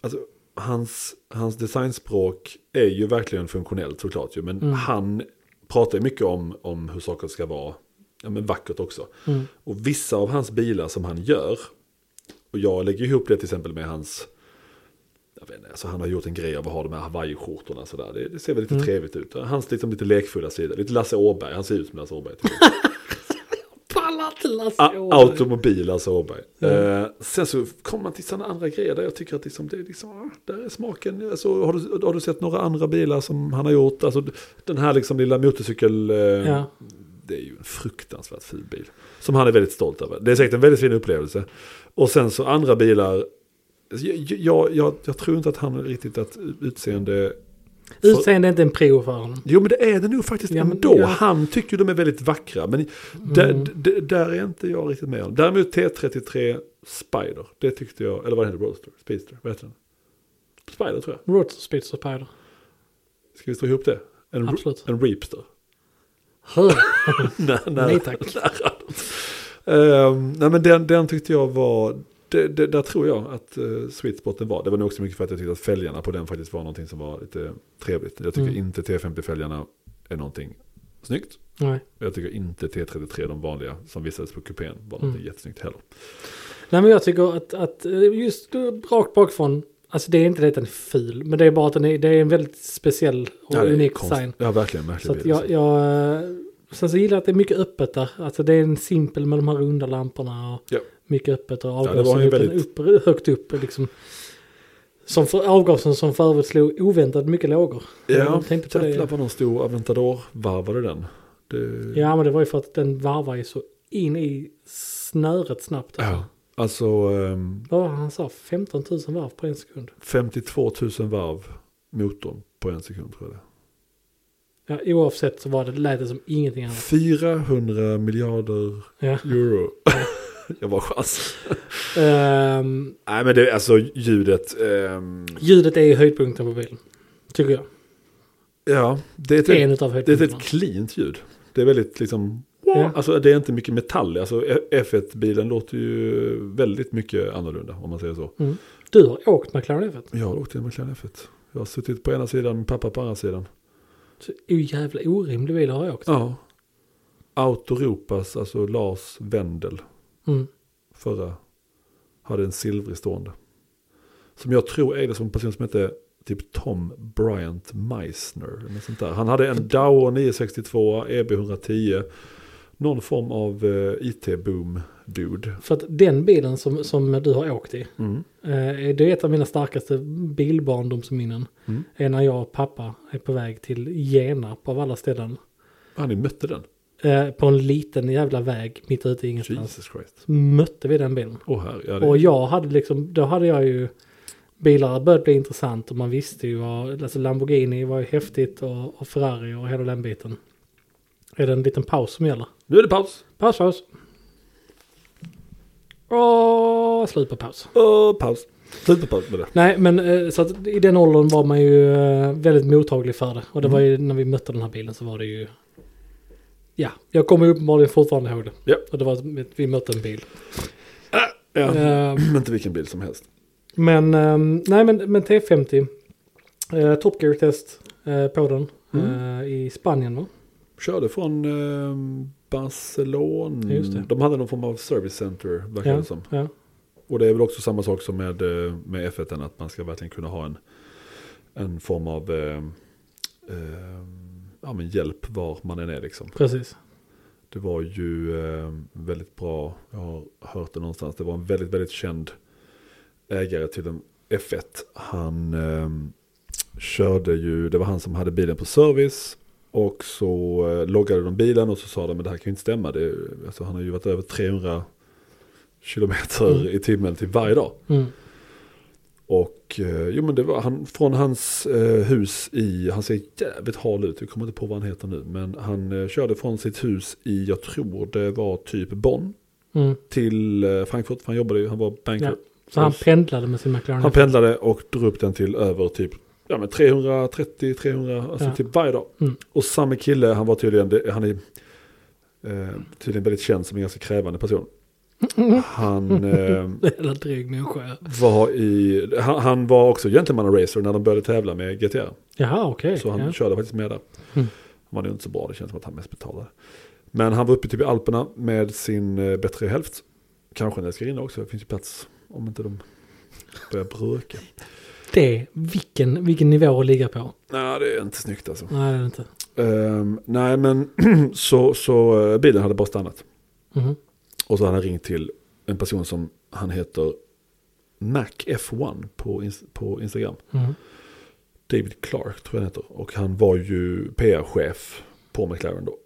Speaker 2: alltså hans, hans designspråk är ju verkligen funktionellt såklart ju, men han pratar ju mycket om, om hur saker ska vara, ja men vackert också.
Speaker 1: Mm.
Speaker 2: Och vissa av hans bilar som han gör, och jag lägger ihop det till exempel med hans, jag vet inte, alltså han har gjort en grej av att ha de här hawaiiskjortorna sådär, det, det ser väl lite trevligt ut. Hans liksom lite lekfulla sida, lite Lasse Åberg, han ser ut som Lasse Åberg. typ.
Speaker 1: Pallar inte Lasse
Speaker 2: A-
Speaker 1: Åberg.
Speaker 2: automobil alltså Åberg.
Speaker 1: Mm.
Speaker 2: Eh, sen så kommer man till sådana andra grejer där jag tycker att liksom, det är liksom, ah, där är smaken. Alltså, har, du, har du sett några andra bilar som han har gjort? Alltså, d- den här liksom lilla motorcykel, eh,
Speaker 1: Ja.
Speaker 2: det är ju en fruktansvärt fin bil. Som han är väldigt stolt över. Det är säkert en väldigt fin upplevelse. Och sen så andra bilar, alltså, jag, jag, jag, jag tror inte att han riktigt att eh, utseende
Speaker 1: Utseende är inte en prio för honom.
Speaker 2: Jo men det är det nog faktiskt
Speaker 1: Ja, men-
Speaker 2: ändå.
Speaker 1: ja.
Speaker 2: Han tycker ju de är väldigt vackra. Men
Speaker 1: Mm.
Speaker 2: där, där, där är inte jag riktigt med om. Däremot T33 Spider. Det tyckte jag, eller vad heter det? Roadster? Speedster? Vad heter den? Spider tror jag.
Speaker 1: Roadster Spitzer Spider.
Speaker 2: Ska vi slå ihop det? En,
Speaker 1: Absolut.
Speaker 2: en Reapster.
Speaker 1: Hör,
Speaker 2: nej,
Speaker 1: nej
Speaker 2: nej.
Speaker 1: tack.
Speaker 2: Ehm, nej men den, den tyckte jag var, det, det, där tror jag att uh, sweet spoten var. Det var nog också mycket för att jag tyckte att fälgarna på den faktiskt var någonting som var lite trevligt. Jag tycker
Speaker 1: Mm.
Speaker 2: inte T50-fälgarna är någonting snyggt.
Speaker 1: Nej.
Speaker 2: Jag tycker inte T33, de vanliga som visades på kupén, var något
Speaker 1: Mm.
Speaker 2: jättesnyggt heller.
Speaker 1: Nej men jag tycker att, att eh, just eh, rakt bakifrån, alltså det är inte det att den är ful, men det är bara att den är, det är en väldigt speciell och
Speaker 2: det är
Speaker 1: unik
Speaker 2: konst-
Speaker 1: design.
Speaker 2: Ja, verkligen
Speaker 1: Så
Speaker 2: märklig
Speaker 1: att
Speaker 2: bil.
Speaker 1: jag,
Speaker 2: alltså.
Speaker 1: jag, eh, sen så gillar jag att det är mycket öppet där, alltså det är en simpel med de här runda lamporna och
Speaker 2: Ja.
Speaker 1: mycket öppet och
Speaker 2: det var
Speaker 1: avgasen
Speaker 2: ju
Speaker 1: upp,
Speaker 2: väldigt-
Speaker 1: upp, högt upp liksom. Som för, avgasen som för övrigt slog oväntat mycket lågor.
Speaker 2: Ja,
Speaker 1: jag tänkte på
Speaker 2: jävlar
Speaker 1: det.
Speaker 2: vad de stod Aventador-varvade den. Det,
Speaker 1: Ja men det var ju för att den varvar ju så in i snöret snabbt.
Speaker 2: Ja, Alltså ehm,
Speaker 1: Vad var det han sa? 15 000 varv på en sekund.
Speaker 2: 52 000 varv motorn på en sekund tror jag det
Speaker 1: Ja, oavsett så var det, lät det som ingenting
Speaker 2: är.
Speaker 1: annat.
Speaker 2: 400 miljarder
Speaker 1: Ja.
Speaker 2: euro. jag bara chans.
Speaker 1: Ehm,
Speaker 2: Nej men det är alltså ljudet. ehm,
Speaker 1: ljudet är ju höjdpunkten på bilen. Tycker jag.
Speaker 2: ja, det är ett,
Speaker 1: En
Speaker 2: det
Speaker 1: utav
Speaker 2: är ett
Speaker 1: höjdpunkterna.
Speaker 2: väldigt cleant ljud. Det är väldigt liksom
Speaker 1: Ja.
Speaker 2: Alltså det är inte mycket metall. Alltså F1-bilen låter ju väldigt mycket annorlunda om man säger så.
Speaker 1: Mm. Du har åkt McLaren F1.
Speaker 2: Jag har åkt i en McLaren F1. Jag har suttit på ena sidan, min pappa på andra sidan.
Speaker 1: Så jävla orimlig bil har jag åkt.
Speaker 2: Ja. Autoropas, alltså Lars Wendel,
Speaker 1: Mm.
Speaker 2: förra, hade en silvrig stående. Som jag tror är det som en person som hette typ Tom Bryant Meissner. Eller något sånt där. Han hade en Dow 962, EB 110. Någon form av eh, IT-boom-dude.
Speaker 1: För att den bilen som, som du har åkt i.
Speaker 2: Mm.
Speaker 1: eh, Det är ett av mina starkaste bilbarndomsminnen.
Speaker 2: Mm.
Speaker 1: Är när jag och pappa är på väg till Genarp av alla ställen.
Speaker 2: Ja, ni mötte den.
Speaker 1: Eh, På en liten jävla väg mitt ute i ingenstans.
Speaker 2: Jesus Christ.
Speaker 1: Så mötte vi den bilen.
Speaker 2: Åh herre, ja, det,
Speaker 1: Och jag hade liksom, då hade jag ju bilar börjat bli intressant och man visste ju vad, alltså Lamborghini var ju häftigt och, och Ferrari och hela den biten. Är det en liten paus som gäller?
Speaker 2: Nu är det paus.
Speaker 1: Paus, paus. Och slut på paus.
Speaker 2: Och paus. Superpöt med det.
Speaker 1: Nej, men eh, så att i den åldern var man ju eh, väldigt mottaglig för det. Och det var
Speaker 2: Mm.
Speaker 1: ju när vi mötte den här bilen så var det ju... Ja, jag kommer ju uppenbarligen fortfarande ihåg det.
Speaker 2: Ja.
Speaker 1: Och det var att vi mötte en bil.
Speaker 2: Ja.
Speaker 1: Eh,
Speaker 2: Inte vilken bil som helst.
Speaker 1: Men, ehm, nej men, men T50. Eh, Top Gear test eh, på den. Eh, I Spanien va?
Speaker 2: Körde från eh, Barcelona.
Speaker 1: Just det.
Speaker 2: De hade någon form av service center, verkar det som.
Speaker 1: ja.
Speaker 2: Och det är väl också samma sak som med, eh, med F1, att man ska verkligen kunna ha en, en form av eh, eh, ja, men hjälp var man än är. Liksom.
Speaker 1: Precis.
Speaker 2: Det var ju eh, väldigt bra, jag har hört det någonstans, det var en väldigt, väldigt känd ägare till en F1. Han eh, körde ju, det var han som hade bilen på service och så eh, loggade de bilen och så sa de men det här kan ju inte stämma. Det, är- alltså, han har ju varit över 300 kilometer
Speaker 1: Mm.
Speaker 2: i timmen till varje dag.
Speaker 1: Mm.
Speaker 2: Och eh, jo men det var han, från hans eh, hus i, han ser jävligt hal ut, jag kommer inte på vad han heter nu. Men han eh, körde från sitt hus i, jag tror det var typ Bonn,
Speaker 1: Mm.
Speaker 2: till eh, Frankfurt. För han jobbade ju, han var banker.
Speaker 1: Ja. Så han pendlade med sin McLaren.
Speaker 2: Han pendlade och drog upp den till över typ ja, men 330, 300, alltså
Speaker 1: Ja.
Speaker 2: typ varje dag.
Speaker 1: Mm.
Speaker 2: Och samma kille, han var tydligen, det- han är eh, tydligen väldigt känd som en ganska krävande person.
Speaker 1: Mm.
Speaker 2: Han... Eh,
Speaker 1: Eller dryg människa. ja.
Speaker 2: var i, han, han var också gentlemannaracer när de började tävla med GTR.
Speaker 1: Jaha okej.
Speaker 2: Så han
Speaker 1: Ja.
Speaker 2: körde faktiskt med där.
Speaker 1: Mm.
Speaker 2: Han var ju inte så bra, det känns som att han mest betalade. Men han var uppe typ i Alperna med sin eh, bättre hälft. Kanske en älskarinna också, det finns ju plats om inte de börjar bröka.
Speaker 1: Det, vilken, vilken nivå att ligga på.
Speaker 2: Nej, det är inte snyggt alltså.
Speaker 1: Nej det är det inte.
Speaker 2: Ehm, nej, men så, så eh, bilen hade bara stannat.
Speaker 1: Mhm.
Speaker 2: Och så hade han ringt till en person som han heter Mac F1 på, ins- på Instagram.
Speaker 1: Mhm.
Speaker 2: David Clark tror jag han heter. Och han var ju PR-chef på McLaren då.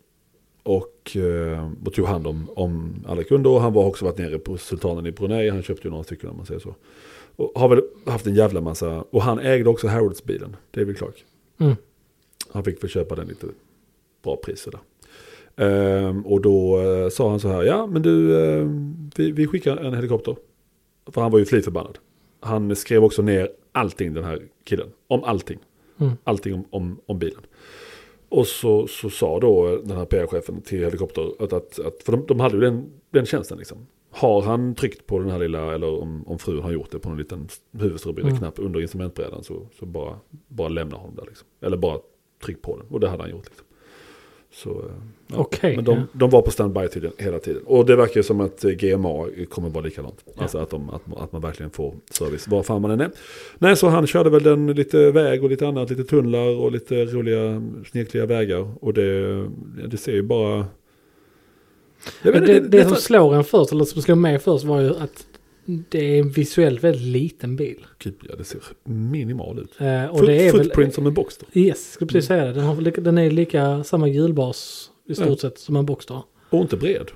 Speaker 2: Och, eh, och tog hand om, om alla kunder. Och han var också varit nere på Sultanen i Brunei. Han köpte ju några stycken om man säger så. Och har väl haft en jävla massa. Och han ägde också Harrods-bilen, David Clark.
Speaker 1: Mm.
Speaker 2: Han fick väl köpa den lite bra priser där. Ehm, och då eh, sa han så här, ja men du, ehm, vi, vi skickar en helikopter. För han var ju fly förbannad. Han skrev också ner allting den här killen, om allting.
Speaker 1: Mm.
Speaker 2: Allting om, om, om bilen. Och så, så sa då den här PR-chefen till helikopter, att, att, att, för de, de hade ju den, den tjänsten liksom. Har han tryckt på den här lilla, eller om, om frun har gjort det på en liten huvudstrubbig
Speaker 1: Mm.
Speaker 2: knapp under instrumentbrädan så, så bara, bara lämna honom där liksom. Eller bara tryck på den. Och det hade han gjort liksom. Så, eh, ja.
Speaker 1: Okej,
Speaker 2: Men de,
Speaker 1: ja.
Speaker 2: de var på standby tydligen hela tiden. Och det verkar ju som att eh, GMA kommer vara likadant. Alltså att, de, att, man- att man verkligen får service var fan man än är. Nej, så han körde väl den lite väg och lite annat, lite tunnlar och lite roliga snirkliga vägar. Och det, det ser ju bara... Jag
Speaker 1: Men
Speaker 2: vet,
Speaker 1: det,
Speaker 2: det,
Speaker 1: det, som slår en först, eller som slog mig först var ju att det är en visuellt väldigt liten bil.
Speaker 2: Gud, ja, det ser minimal ut.
Speaker 1: Eh, och
Speaker 2: Foot,
Speaker 1: det är
Speaker 2: footprint
Speaker 1: väl...
Speaker 2: som en box då.
Speaker 1: Yes, skulle precis säga det. Den, har, väl lika- den är lika, samma hjulbas i stort
Speaker 2: Mm. Ja.
Speaker 1: sett som en box då.
Speaker 2: Och inte bred.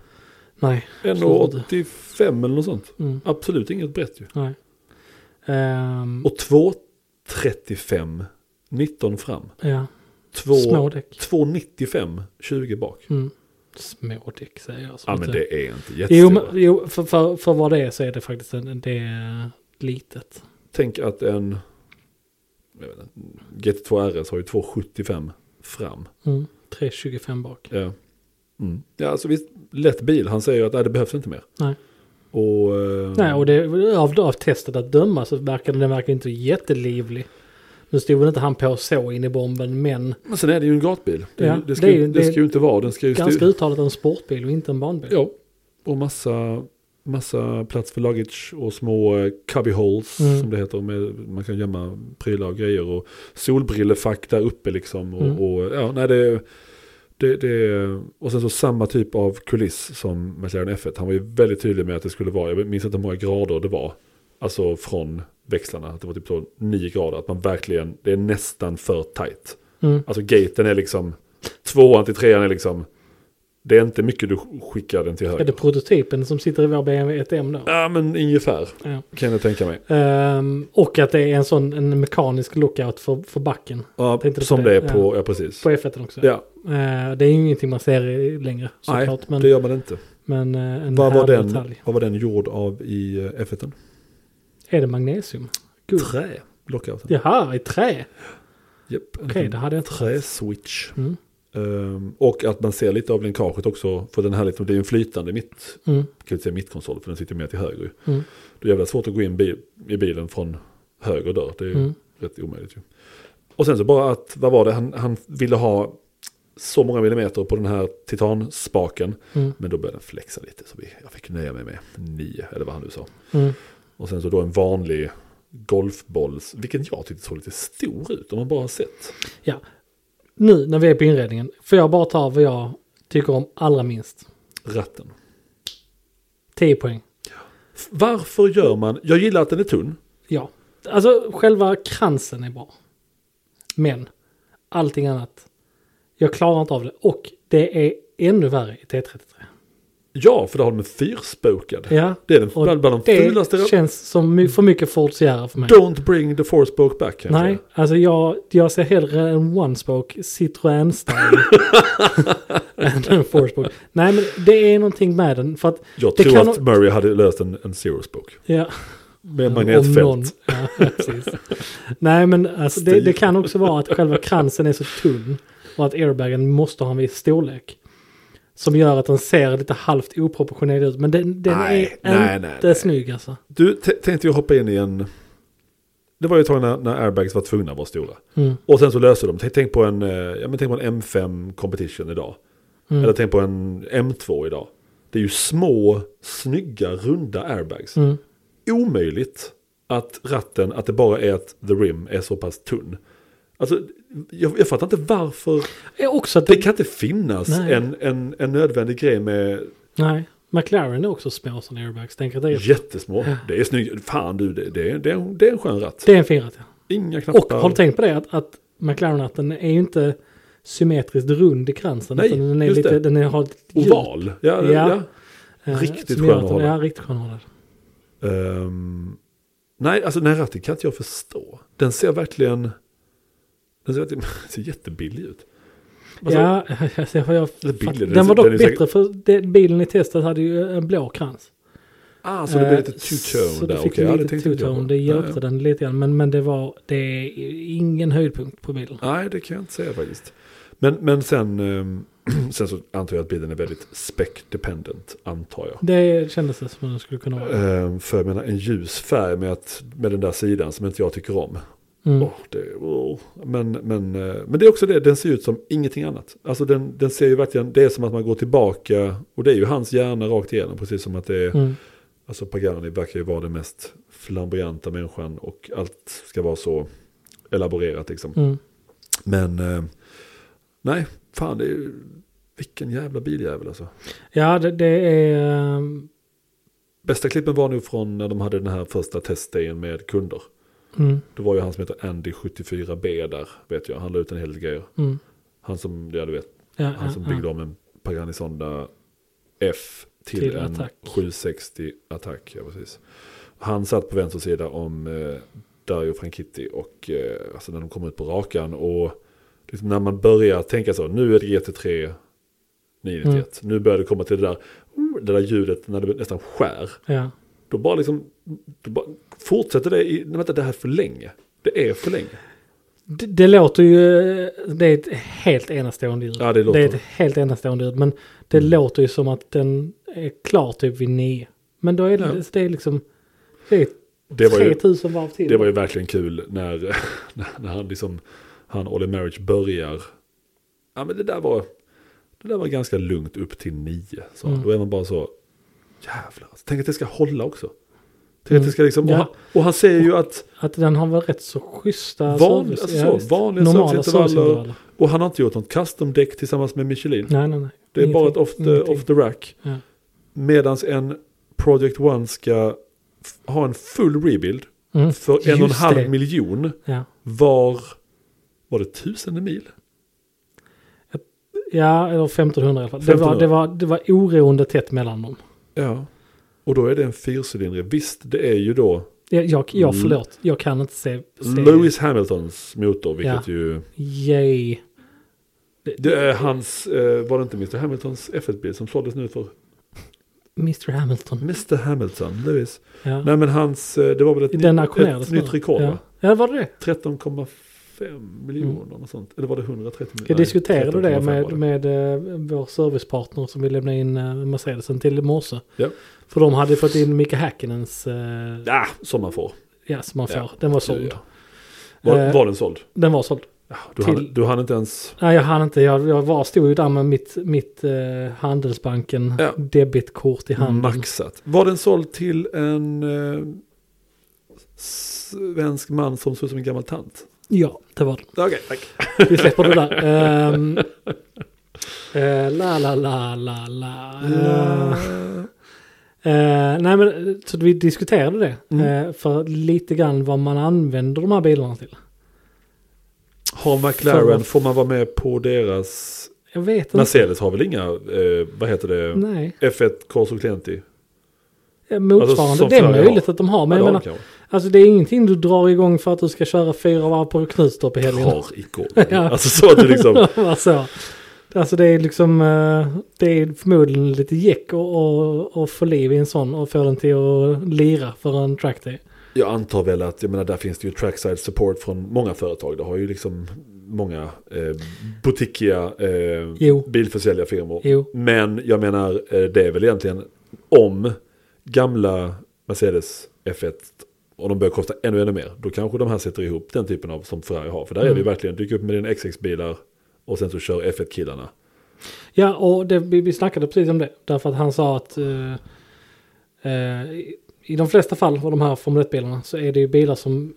Speaker 1: Nej,
Speaker 2: 1,85 eller något sånt.
Speaker 1: Mm.
Speaker 2: Absolut inget brett ju.
Speaker 1: nej. Ehm,
Speaker 2: Och 2,35, 19 fram.
Speaker 1: ja,
Speaker 2: 2,
Speaker 1: små däck.
Speaker 2: 2,95, 20 bak.
Speaker 1: Mm. Små däck säger jag. så
Speaker 2: Ja
Speaker 1: att
Speaker 2: men
Speaker 1: det-
Speaker 2: det är inte jättestora.
Speaker 1: Jo, men, jo för, för, för vad det är så är det faktiskt en, det är litet.
Speaker 2: Tänk att en jag vet inte, GT2 RS har ju 2,75 fram.
Speaker 1: Mm. 325 bak.
Speaker 2: Ja. Mm. ja, alltså visst, lätt bil. Han säger ju att nej, det behövs inte mer.
Speaker 1: Nej.
Speaker 2: Och, eh,
Speaker 1: Nej, och det, av, av testet att döma så verkar den verkar inte jättelivlig. Nu stod väl inte han på så in i bomben, men
Speaker 2: Men sen är det ju en gatbil. Det,
Speaker 1: Ja,
Speaker 2: det, ska,
Speaker 1: det är
Speaker 2: ju,
Speaker 1: ju-
Speaker 2: det,
Speaker 1: det är
Speaker 2: ska ju inte vara. Den ska ju
Speaker 1: ganska
Speaker 2: styr-
Speaker 1: uttalat en sportbil och inte en barnbil.
Speaker 2: Ja, och massa, massa plats för luggage och små eh, cubby holes
Speaker 1: Mm.
Speaker 2: som det heter. Med, man kan gömma prylar och grejer och solbrillefack där uppe liksom. Och,
Speaker 1: Mm.
Speaker 2: och, ja, nej, det, det, det, och sen så samma typ av kuliss som McLaren F1. Han var ju väldigt tydlig med att det skulle vara, jag minns inte hur många grader det var. Alltså från växlarna, att det var typ så 9 grader. Att man verkligen, det är nästan för tajt.
Speaker 1: Mm.
Speaker 2: Alltså gaten är liksom, tvåan till trean är liksom, det är inte mycket du skickar den till höger.
Speaker 1: Är det prototypen som sitter i vår BMW 1M då?
Speaker 2: Ja men ungefär
Speaker 1: Ja.
Speaker 2: kan jag tänka mig.
Speaker 1: Ehm, och att det är en sån en mekanisk lockout för, för backen.
Speaker 2: Ja,
Speaker 1: Tänkte du på
Speaker 2: som
Speaker 1: det?
Speaker 2: det är på, ja, precis.
Speaker 1: På F1 också.
Speaker 2: Ja,
Speaker 1: Ehm, det är ju ingenting man ser i- längre
Speaker 2: nej,
Speaker 1: såklart. Men,
Speaker 2: det gör man inte.
Speaker 1: men eh, en
Speaker 2: Vad var,
Speaker 1: härlig
Speaker 2: den,
Speaker 1: detalj.
Speaker 2: vad var den gjord av i eh, F1?
Speaker 1: Är det magnesium? Guld?
Speaker 2: Trä. Lockouten.
Speaker 1: Jaha, i trä.
Speaker 2: Japp. En
Speaker 1: Okej, det hade jag inte.
Speaker 2: Trä-switch.
Speaker 1: Mm.
Speaker 2: Ehm, och att man ser lite av länkaget också. För den här liksom, det är ju en flytande mitt,
Speaker 1: Mm.
Speaker 2: kan inte säga mittkonsol, för den sitter ju mer till höger. ju.
Speaker 1: Mm.
Speaker 2: Det är jävla svårt att gå in bi- i bilen från höger dörr. Det är ju
Speaker 1: Mm.
Speaker 2: rätt omöjligt ju. Och sen så bara att, vad var det, han, han ville ha så många millimeter på den här titanspaken.
Speaker 1: Mm.
Speaker 2: Men då började den flexa lite så vi, jag fick nöja mig med nio, eller vad han nu sa.
Speaker 1: Mm.
Speaker 2: Och sen så då en vanlig golfbolls, vilken jag tyckte såg lite stor ut om man bara har sett.
Speaker 1: Ja. Nu när vi är på inredningen. Får jag bara ta vad jag tycker om allra minst.
Speaker 2: Ratten.
Speaker 1: 10 poäng.
Speaker 2: Varför gör man, jag gillar att den är tunn.
Speaker 1: Ja. Alltså själva kransen är bra. Men allting annat. Jag klarar inte av det. Och det är ännu värre i T33.
Speaker 2: Ja, för då har de en fyrspokad.
Speaker 1: Ja.
Speaker 2: Det är den,
Speaker 1: Och
Speaker 2: bland, bland de fulaste.
Speaker 1: det känns som my- för mycket Ford Sierra för mig.
Speaker 2: Don't bring the four-spoke back kanske.
Speaker 1: Nej, alltså jag, jag ser hellre en one-spoke Citroën-style än en four-spoke. Nej, men det är någonting med den. För att,
Speaker 2: Jag
Speaker 1: Det
Speaker 2: tror
Speaker 1: kan
Speaker 2: att Murray hade löst en, en zero-spoke.
Speaker 1: ja,
Speaker 2: Med
Speaker 1: om någon.
Speaker 2: magnetfält.
Speaker 1: Ja, precis. Nej, men alltså, det, det kan också vara att själva kransen är så tunn och att airbagen måste ha en viss storlek. Som gör att den ser lite halvt oproportionerlig ut. Men den, den
Speaker 2: Nej,
Speaker 1: är
Speaker 2: nej,
Speaker 1: inte
Speaker 2: nej, nej.
Speaker 1: snygg alltså.
Speaker 2: Du, t- tänkte jag hoppa in i en... Det var ju ett tag när, när airbags var tvungna att vara stora.
Speaker 1: Mm,
Speaker 2: Och sen så löser de. Tänk, tänk, på en, eh, ja, men tänk på en M5 competition idag.
Speaker 1: Mm.
Speaker 2: Eller tänk på en M2 idag. Det är ju små, snygga, runda airbags.
Speaker 1: mm,
Speaker 2: Omöjligt att ratten, att det bara är att the rim är så pass tunn. Alltså, jag, jag fattar inte varför.
Speaker 1: Är också att
Speaker 2: Det
Speaker 1: det,
Speaker 2: kan inte finnas
Speaker 1: Nej.
Speaker 2: en, en, en nödvändig grej med
Speaker 1: Nej, McLaren är också små som airbags. Tänker att det är,
Speaker 2: jättesmå. Det är snyggt. Fan du, det, det, är, det, är, en- det är en skön ratt.
Speaker 1: det är en fin ratt, ja.
Speaker 2: Inga
Speaker 1: Och
Speaker 2: knappar.
Speaker 1: har du tänkt på det att, att McLaren-ratten är ju inte symmetriskt rund i kransen.
Speaker 2: Nej,
Speaker 1: utan den är
Speaker 2: just
Speaker 1: lite,
Speaker 2: det.
Speaker 1: den är, har ett djup,
Speaker 2: Oval. Ja,
Speaker 1: Ja.
Speaker 2: ja. ja.
Speaker 1: eh,
Speaker 2: riktigt
Speaker 1: som gör att
Speaker 2: skön
Speaker 1: den-
Speaker 2: att
Speaker 1: Ja,
Speaker 2: hålla.
Speaker 1: riktigt skön att hålla.
Speaker 2: Ehm, nej, alltså den här ratten kan inte jag förstå. Den ser verkligen... Den ser, verkligen, ser jättebillig ut. Alltså,
Speaker 1: Ja, alltså, jag, jag,
Speaker 2: Eller bilen,
Speaker 1: den,
Speaker 2: den-
Speaker 1: var dock
Speaker 2: den är
Speaker 1: bättre
Speaker 2: säkert-
Speaker 1: för den, bilen i testet hade ju en blå krans.
Speaker 2: Ah, så det blir lite
Speaker 1: Eh, Så
Speaker 2: two-tone
Speaker 1: du
Speaker 2: där.
Speaker 1: fick
Speaker 2: Okej, ja,
Speaker 1: okay,
Speaker 2: det
Speaker 1: lite
Speaker 2: tänkte inte jag
Speaker 1: two-tone.
Speaker 2: på.
Speaker 1: Det hjälpte
Speaker 2: Nej,
Speaker 1: den lite grann. Men, men det var det är ingen höjdpunkt på bilen.
Speaker 2: Nej, det kan jag inte säga faktiskt. Men, men sen, ehm, sen så antar jag att bilen är väldigt spec-dependent, antar jag.
Speaker 1: Det kändes det som att den skulle kunna vara.
Speaker 2: Ehm, för jag menar en ljus färg med, att, med den där sidan som inte jag tycker om.
Speaker 1: Mm.
Speaker 2: Åh, det, åh. Men, men, eh, men det är också det, den ser ut som ingenting annat. Alltså den, den ser ju verkligen, det är som att man går tillbaka och det är ju hans hjärna rakt igenom. Precis som att det är,
Speaker 1: Mm.
Speaker 2: alltså Pagani verkar ju vara den mest flamboyanta människan och allt ska vara så elaborerat liksom.
Speaker 1: Mm.
Speaker 2: Men eh, nej, fan det är ju, vilken jävla biljävel alltså.
Speaker 1: Ja, det, det är... ehm,
Speaker 2: Bästa klippen var nog från när de hade den här första testdagen med kunder.
Speaker 1: Mm,
Speaker 2: Det var ju han som heter Andy74B där, vet jag. Han la ut en hel del grejer.
Speaker 1: mm.
Speaker 2: Han som, ja du vet,
Speaker 1: Ja,
Speaker 2: han som
Speaker 1: ja, ja.
Speaker 2: byggde om en Pagani Sonda F till,
Speaker 1: Till
Speaker 2: en
Speaker 1: attack.
Speaker 2: 760 attack. Ja, precis. Han satt på vänster sida om eh, Dario Franchitti och eh, alltså när de kom ut på rakan och liksom när man börjar tänka så, nu är det GT3 991,
Speaker 1: Mm.
Speaker 2: nu börjar det komma till det där, mm, det där ljudet när det nästan skär.
Speaker 1: Ja.
Speaker 2: Då bara liksom, då bara fortsätter det i, nej vänta det här är för länge. Det är för länge.
Speaker 1: Det, det låter ju, det är ett helt enastående ljud.
Speaker 2: Ja, det
Speaker 1: det
Speaker 2: låter.
Speaker 1: är ett helt enastående ljud, men det
Speaker 2: Mm.
Speaker 1: låter ju som att den är klar typ vid nio. Men då är det,
Speaker 2: Ja.
Speaker 1: det är liksom, det är
Speaker 2: Det var ju,
Speaker 1: 3000 varv till.
Speaker 2: Det var ju verkligen kul när, när- när han liksom, han Olly Marriage börjar. Ja men det där var, det där var ganska lugnt upp till nio. Så
Speaker 1: Mm.
Speaker 2: Då är man bara så, jävlar. alltså, Tänk att det ska hålla också. Tänk
Speaker 1: Mm.
Speaker 2: att det ska liksom,
Speaker 1: Ja.
Speaker 2: och, han, och han säger ju att,
Speaker 1: Att den har väl rätt så schyssta
Speaker 2: Van-
Speaker 1: service-
Speaker 2: alltså
Speaker 1: ja,
Speaker 2: så,
Speaker 1: visst.
Speaker 2: vanliga
Speaker 1: normala
Speaker 2: serviceintervaller.
Speaker 1: serviceintervaller.
Speaker 2: och han har inte gjort något custom-däck tillsammans med Michelin.
Speaker 1: Nej, nej, nej.
Speaker 2: det är bara ett
Speaker 1: Ingenting.
Speaker 2: off the,
Speaker 1: Ingenting.
Speaker 2: off the rack.
Speaker 1: Ja.
Speaker 2: Medan en Project One ska f- ha en full rebuild
Speaker 1: Mm.
Speaker 2: för en och en
Speaker 1: Just det.
Speaker 2: halv miljon
Speaker 1: Ja.
Speaker 2: var, var det tusen mil?
Speaker 1: ja, eller 1500 i alla fall. Det var,
Speaker 2: 1500.
Speaker 1: det, var, det var oroende tätt mellan dem.
Speaker 2: Ja, och då är det en fyrcylindrig. Visst, det är ju då
Speaker 1: Jag, jag, jag
Speaker 2: Mm.
Speaker 1: förlåt, jag kan inte se... se
Speaker 2: Lewis Hamiltons motor, vilket ju...
Speaker 1: Yay.
Speaker 2: Det är hans, eh, var det inte Mr Hamiltons F1-bil som såldes nu för
Speaker 1: Mr Hamilton.
Speaker 2: Mr Hamilton, Lewis.
Speaker 1: Ja.
Speaker 2: Nej men hans, eh, det var väl ett,
Speaker 1: Den
Speaker 2: nytt-
Speaker 1: auktionerades
Speaker 2: ett
Speaker 1: nu.
Speaker 2: nytt rekord
Speaker 1: ja.
Speaker 2: va?
Speaker 1: ja, var det det?
Speaker 2: 13,5 miljoner mm. och sånt. Eller var det 130 miljoner?
Speaker 1: Jag diskuterade det
Speaker 2: 13,5 var
Speaker 1: med, med eh, vår servicepartner som vi lämnade in eh, Mercedesen till i morse.
Speaker 2: Ja.
Speaker 1: För de hade fått in Micke Häkkinens, eh,
Speaker 2: Ja, Ah, som man får.
Speaker 1: ja som man får.
Speaker 2: Ja,
Speaker 1: Den var
Speaker 2: Så,
Speaker 1: såld.
Speaker 2: ja. Var,
Speaker 1: Eh,
Speaker 2: var den såld?
Speaker 1: Den var såld.
Speaker 2: Ja, Du,
Speaker 1: till-
Speaker 2: hann, du hann inte ens...
Speaker 1: Nej, jag hann inte. Jag, jag var, stod ju där med mitt, mitt eh, Handelsbanken
Speaker 2: Ja.
Speaker 1: debitkort i handen.
Speaker 2: Maxat. Var den såld till en eh, svensk man som såg ut som en gammal tant?
Speaker 1: Ja, det var det.
Speaker 2: Okej, tack.
Speaker 1: Vi släpper det där. Ehm, eh, la, la, la, la, la. Eh, eh, nej, men så vi diskuterade det.
Speaker 2: Mm.
Speaker 1: Eh, för lite grann vad man använder de här bilarna till.
Speaker 2: Har McLaren, får man vara med på deras...
Speaker 1: Jag vet inte.
Speaker 2: Mercedes har väl inga, eh, vad heter det?
Speaker 1: Nej,
Speaker 2: F1 Corso Clenti?
Speaker 1: eh, motsvarande.
Speaker 2: Alltså, som
Speaker 1: det är
Speaker 2: Ferrari
Speaker 1: möjligt
Speaker 2: har.
Speaker 1: att de har. Men
Speaker 2: Ja,
Speaker 1: jag
Speaker 2: det
Speaker 1: menar,
Speaker 2: har de kanske.
Speaker 1: alltså, det är ingenting du drar igång för att du ska köra fyra varv på Knutstorp i helgen.
Speaker 2: Drar igång. Alltså så att du liksom...
Speaker 1: alltså, alltså det är liksom, eh, det är förmodligen lite jäck och, och, och få liv i en sån och få den till att lira för en track day.
Speaker 2: Jag antar väl att, jag menar där finns det ju trackside support från många företag. Det har ju liksom många eh, boutiquiga eh,
Speaker 1: Jo.
Speaker 2: bilförsäljarfirmor.
Speaker 1: Jo.
Speaker 2: Men jag menar, eh, det är väl egentligen om gamla Mercedes F1 och de börjar kosta ännu, ännu mer, då kanske de här sätter ihop den typen av som Ferrari har. För där är det ju
Speaker 1: Mm.
Speaker 2: verkligen, dyk upp med dina XX-bilar och sen så kör F1-killarna.
Speaker 1: Ja, och det, vi, vi snackade precis om det. Därför att han sa att eh, eh, i- i de flesta fall av de här Formel 1-bilarna så är det ju bilar som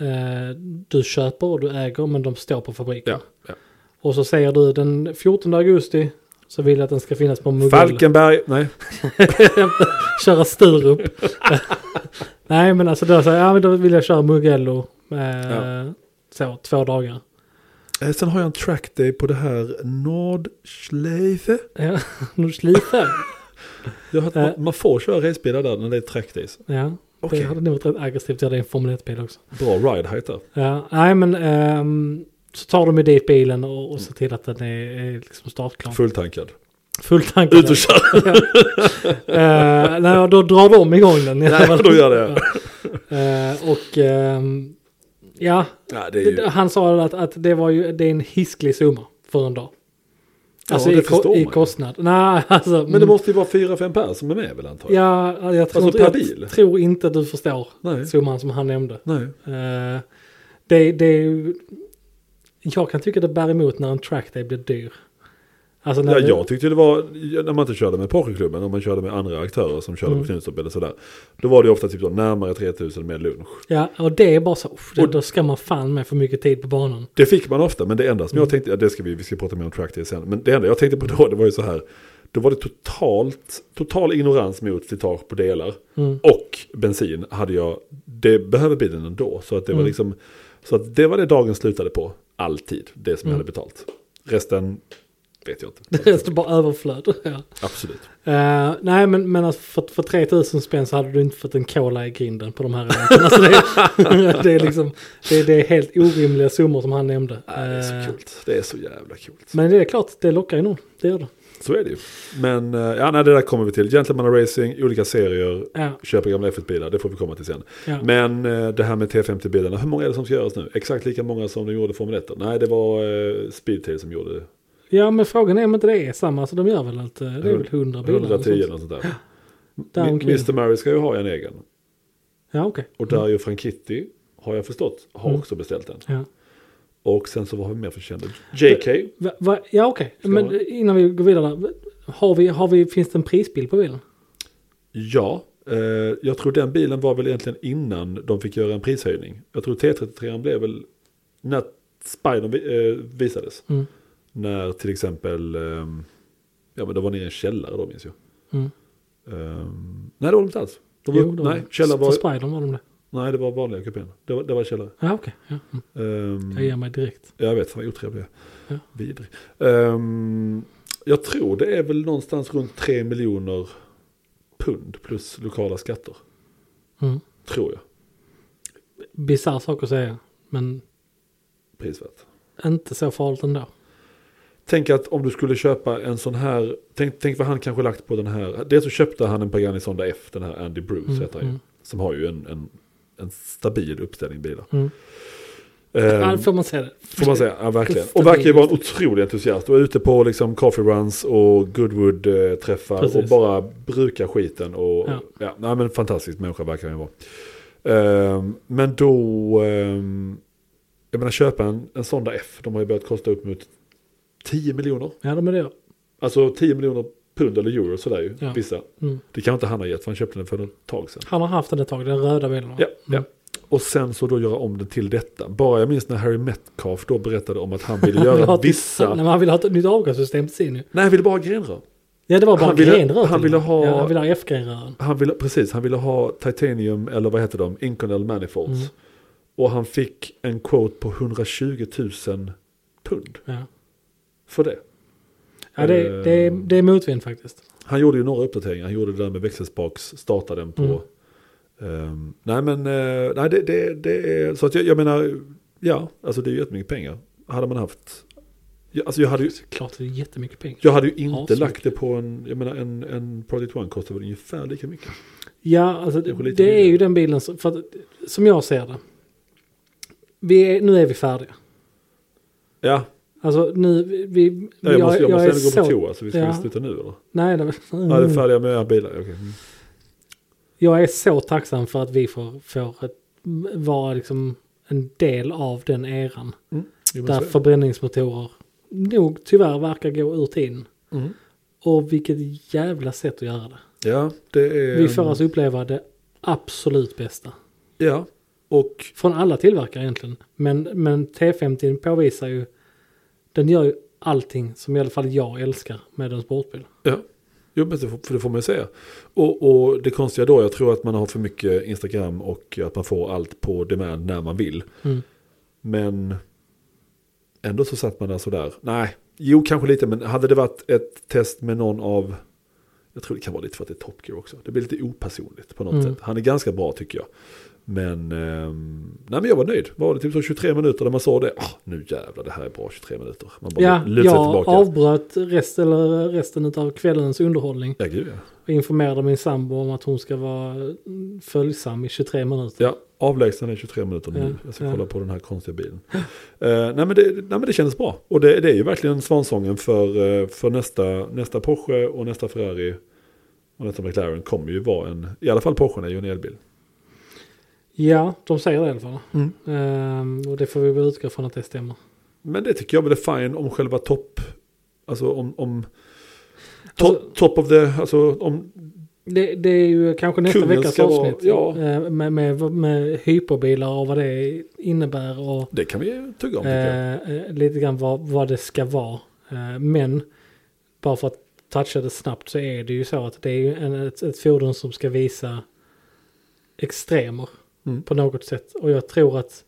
Speaker 1: eh, du köper och du äger men de står på fabriken.
Speaker 2: Ja, ja.
Speaker 1: Och så säger du den 14 augusti så vill jag att den ska finnas på Mugello.
Speaker 2: Falkenberg, nej.
Speaker 1: köra Sturup. Nej men alltså då, så, ja, men då vill jag köra Mugello. Eh,
Speaker 2: Ja.
Speaker 1: Så två dagar.
Speaker 2: Eh, Sen har jag en trackday på det här Nordschleife.
Speaker 1: Ja, nu sliter jag.
Speaker 2: Jag har hört,
Speaker 1: Eh.
Speaker 2: man, man får köra racebilar där när det är trackdays.
Speaker 1: Ja,
Speaker 2: Okej.
Speaker 1: det hade nog varit rätt aggressivt. Jag hade en Formel 1-bil också.
Speaker 2: Bra ride height där.
Speaker 1: Ja, nej men ehm, så tar de ju dit bilen och, och ser till att den är, är liksom startklar.
Speaker 2: Fulltankad.
Speaker 1: Fulltankad.
Speaker 2: Ut och kör.
Speaker 1: Eh, nej, och då drar de igång den. i alla
Speaker 2: Nej,
Speaker 1: fall.
Speaker 2: då gör det.
Speaker 1: Ja. Eh, och ehm, ja,
Speaker 2: Ja, det är
Speaker 1: det,
Speaker 2: ju...
Speaker 1: han sa att, att det var ju det är en hisklig summa för en dag.
Speaker 2: Ja,
Speaker 1: Alltså
Speaker 2: det
Speaker 1: i, ko-
Speaker 2: förstår man
Speaker 1: i
Speaker 2: ju.
Speaker 1: kostnad. Nej, alltså,
Speaker 2: Men det måste ju vara fyra, fem pers som är med väl antagligen?
Speaker 1: Ja, jag tror,
Speaker 2: Alltså,
Speaker 1: inte,
Speaker 2: per
Speaker 1: jag
Speaker 2: bil?
Speaker 1: tror inte du förstår
Speaker 2: Nej.
Speaker 1: summan som han nämnde.
Speaker 2: Nej.
Speaker 1: Eh, det, det är ju... Jag kan tycka det bär emot när en trackday blir dyr. Alltså när
Speaker 2: Ja,
Speaker 1: det-
Speaker 2: jag tyckte det var, när man inte körde med Porsche-klubben, om man körde med andra aktörer som körde
Speaker 1: Mm.
Speaker 2: på Knutstorp eller sådär. Då var det ju ofta typ så närmare 3000 med lunch.
Speaker 1: ja, och det är bara så. Uff, det,
Speaker 2: Och-
Speaker 1: då ska man fan med för mycket tid på banan.
Speaker 2: Det fick man ofta, men det enda
Speaker 1: Mm.
Speaker 2: som jag tänkte, ja, det ska vi, vi ska prata mer om trackday sen, men det enda jag tänkte på då, det var ju så här, då var det totalt, total ignorans mot slitage på delar.
Speaker 1: Mm.
Speaker 2: Och bensin hade jag, det behöver bilen ändå. Så att det
Speaker 1: Mm.
Speaker 2: var liksom, så att det var det dagen slutade på, alltid, det som jag
Speaker 1: Mm.
Speaker 2: hade betalt. Resten vet jag
Speaker 1: Det
Speaker 2: inte.
Speaker 1: är bara överflöd. Ja.
Speaker 2: Absolut.
Speaker 1: Eh, nej men, men alltså för, för 3000 spänn så hade du inte fått en cola i grinden på de här eventen. alltså det, är- det är liksom det, är- det är helt orimliga summor som han nämnde.
Speaker 2: Nej, det är
Speaker 1: Eh,
Speaker 2: så kul. Det är så jävla kul.
Speaker 1: Men det är klart, det lockar ju någon. Det gör det.
Speaker 2: Så är det ju. Men eh, ja, nej, det där kommer vi till. Gentleman Racing, olika serier,
Speaker 1: Ja,
Speaker 2: köpa gamla F1-bilar, det får vi komma till sen.
Speaker 1: ja.
Speaker 2: Men eh, det här med T50-bilarna, hur många är det som ska göras nu? Exakt lika många som de gjorde Formel 1? Nej, det var eh, Speedtail som gjorde
Speaker 1: ja men frågan är om inte det är samma. Så de gör väl att eh, det är väl 100 bilar. eller
Speaker 2: 110 eller
Speaker 1: sånt.
Speaker 2: något sånt där.
Speaker 1: där
Speaker 2: Mi-
Speaker 1: omkring.
Speaker 2: Mr. Murray ska ju ha en egen.
Speaker 1: Ja okej.
Speaker 2: Och Dario Franchitti, har jag förstått, har
Speaker 1: Mm.
Speaker 2: också beställt en.
Speaker 1: Ja.
Speaker 2: Och sen så vad har vi mer för kändis? JK?
Speaker 1: Va, va, ja okej,
Speaker 2: Ska
Speaker 1: men eh,
Speaker 2: man-
Speaker 1: innan vi går vidare. där, Har vi, har vi, finns det en prisbild på bilen?
Speaker 2: Ja, eh, jag tror den bilen var väl egentligen innan de fick göra en prishöjning. Jag tror T33 blev väl när Spinern vi- eh, visades.
Speaker 1: Mm.
Speaker 2: När till exempel, ehm, ja men det var nere i en källare då minns jag.
Speaker 1: Mm.
Speaker 2: Ehm, nej det var det inte alls. De var,
Speaker 1: Jo, det var
Speaker 2: nej,
Speaker 1: det.
Speaker 2: källare
Speaker 1: För
Speaker 2: var,
Speaker 1: Spidern var de det.
Speaker 2: nej, det var vanliga kupén. Det var, det var källare.
Speaker 1: Ja okej, ja. mm.
Speaker 2: Ehm,
Speaker 1: jag ger mig direkt.
Speaker 2: jag vet, fan vad otrevlig jag är.
Speaker 1: Ja.
Speaker 2: Vidrig. Ehm, jag tror det är väl någonstans runt 3 miljoner pund plus lokala skatter.
Speaker 1: Mm.
Speaker 2: Tror jag.
Speaker 1: Bisarr sak att säga, men
Speaker 2: Prisvärt.
Speaker 1: inte så farligt ändå.
Speaker 2: Tänk att om du skulle köpa en sån här, tänk, tänk vad han kanske lagt på den här. Dels så köpte han en Pagani Sonda F, den här Andy Bruce
Speaker 1: Mm,
Speaker 2: heter han ju.
Speaker 1: mm.
Speaker 2: Som har ju en, en, en stabil uppställning bilar.
Speaker 1: Mm.
Speaker 2: Ehm,
Speaker 1: Ja, får man säga det.
Speaker 2: Får man säga, ja verkligen.
Speaker 1: Stabil
Speaker 2: Och verkar ju vara en otrolig entusiast. Och är ute på liksom coffee runs och Goodwood-träffar och
Speaker 1: Precis.
Speaker 2: bara brukar skiten. Och, ja.
Speaker 1: Ja.
Speaker 2: nej men fantastisk människa verkar han ju vara. Ehm, men då, ehm, jag menar köpa en, en Sonda F, de har ju börjat kosta upp mot 10 miljoner.
Speaker 1: Ja, de är det.
Speaker 2: Alltså 10 miljoner pund eller euro sådär ju,
Speaker 1: Ja.
Speaker 2: vissa.
Speaker 1: Mm.
Speaker 2: Det kan inte han ha gett för han köpte den för ett tag sedan.
Speaker 1: Han har haft den ett tag, den röda bilen. Mm. va?
Speaker 2: Ja, ja. Och sen så då göra om det till detta. Bara jag minns när Harry Metcalf då berättade om att han ville
Speaker 1: Han vill ha
Speaker 2: göra
Speaker 1: ett-
Speaker 2: vissa...
Speaker 1: Nej, men han ville ha ett nytt avgassystem till sin nu.
Speaker 2: Nej, han ville bara ha grenrör.
Speaker 1: Ja, det var bara
Speaker 2: Han ville-
Speaker 1: grenrör
Speaker 2: han
Speaker 1: till
Speaker 2: ville
Speaker 1: den.
Speaker 2: ha-
Speaker 1: Ja, han ville ha F-grenrören.
Speaker 2: Han ville, precis, han ville ha titanium, eller vad heter de, Inconel Manifolds.
Speaker 1: Mm.
Speaker 2: Och han fick en quote på 120 000 pund
Speaker 1: Ja.
Speaker 2: för det.
Speaker 1: Ja, det,
Speaker 2: Eh.
Speaker 1: det, det är motvind faktiskt.
Speaker 2: Han gjorde ju några uppdateringar, han gjorde det där med växelspaks, startade den på...
Speaker 1: Mm.
Speaker 2: ehm, nej men, eh, nej det, det, det är, så att jag, jag menar, ja, alltså det är ju jättemycket pengar. Hade man haft, ja, alltså jag hade ju,
Speaker 1: Klart det är jättemycket pengar.
Speaker 2: jag hade ju inte
Speaker 1: Asmycket.
Speaker 2: lagt det på en, jag menar en, en Project One kostar väl ungefär lika mycket.
Speaker 1: Ja, alltså det,
Speaker 2: Kanske lite
Speaker 1: det är
Speaker 2: billigare.
Speaker 1: ju den bilen som, för att, som jag ser det. Vi är, nu är vi färdiga.
Speaker 2: Ja,
Speaker 1: Alltså nu, vi... vi
Speaker 2: jag, måste, jag, måste
Speaker 1: är
Speaker 2: ändå gå på
Speaker 1: så-
Speaker 2: toa så vi ska
Speaker 1: ja. Mm.
Speaker 2: väl sluta nu eller?
Speaker 1: Nej, det,
Speaker 2: Ja, det är färdiga med era bilar. okej. Mm.
Speaker 1: jag är så tacksam för att vi får, får ett, vara liksom en del av den eran.
Speaker 2: Jo, men
Speaker 1: Där
Speaker 2: så är det.
Speaker 1: förbränningsmotorer nog tyvärr verkar gå ur tiden.
Speaker 2: Mm.
Speaker 1: Och vilket jävla sätt att göra det.
Speaker 2: Ja, det är...
Speaker 1: Vi får alltså uppleva det absolut bästa.
Speaker 2: Ja, och
Speaker 1: Från alla tillverkare egentligen. Men, men T50 påvisar ju, den gör ju allting som i alla fall jag älskar med en sportbil.
Speaker 2: Ja, jo, men det, får, för det får man ju säga. Och, och det konstiga då, jag tror att man har för mycket Instagram och att man får allt på demand när man vill.
Speaker 1: Mm.
Speaker 2: Men ändå så satt man där sådär. Nej, jo kanske lite, men hade det varit ett test med någon av... Jag tror det kan vara lite för att det är Top Gear också. Det blir lite opersonligt på något
Speaker 1: Mm.
Speaker 2: sätt. Han är ganska bra tycker jag. Men, ehm, nej, men jag var nöjd. Var det typ så 23 minuter där man sa det? "Ah, nu jävlar, det här är bra 23 minuter. Man bara
Speaker 1: Ja,
Speaker 2: lutar sig
Speaker 1: jag
Speaker 2: tillbaka.
Speaker 1: avbröt rest, eller resten av kvällens underhållning
Speaker 2: Ja, gud ja.
Speaker 1: och informerade min sambo om att hon ska vara mm, följsam i 23 minuter.
Speaker 2: Ja, avlägsen är 23 minuter nu.
Speaker 1: Ja,
Speaker 2: jag ska
Speaker 1: ja.
Speaker 2: kolla på den här konstiga bilen. Eh, nej, men det, nej men det kändes bra. Och det, det är ju verkligen svansången för, eh, för nästa, nästa Porsche och nästa Ferrari. Och nästa McLaren kommer ju vara en, i alla fall Porschen är ju en elbil.
Speaker 1: Ja, de säger det i alla fall.
Speaker 2: Mm.
Speaker 1: Ehm, och det får vi väl utgå från att det stämmer.
Speaker 2: Men det tycker jag väl är fine om själva topp, alltså om, om to,
Speaker 1: Alltså-
Speaker 2: top of the, alltså om,
Speaker 1: Det, det är ju kanske nästa
Speaker 2: Kungen
Speaker 1: veckas
Speaker 2: ska vara-
Speaker 1: avsnitt.
Speaker 2: ja.
Speaker 1: eh, med, med, med hyperbilar och vad det innebär. Och
Speaker 2: det kan vi ju tugga om. tycker jag.
Speaker 1: eh, eh, lite grann vad, vad det ska vara. Eh, men bara för att toucha det snabbt så är det ju så att det är ju en, ett, ett fordon som ska visa extremer
Speaker 2: Mm.
Speaker 1: på något sätt. Och jag tror att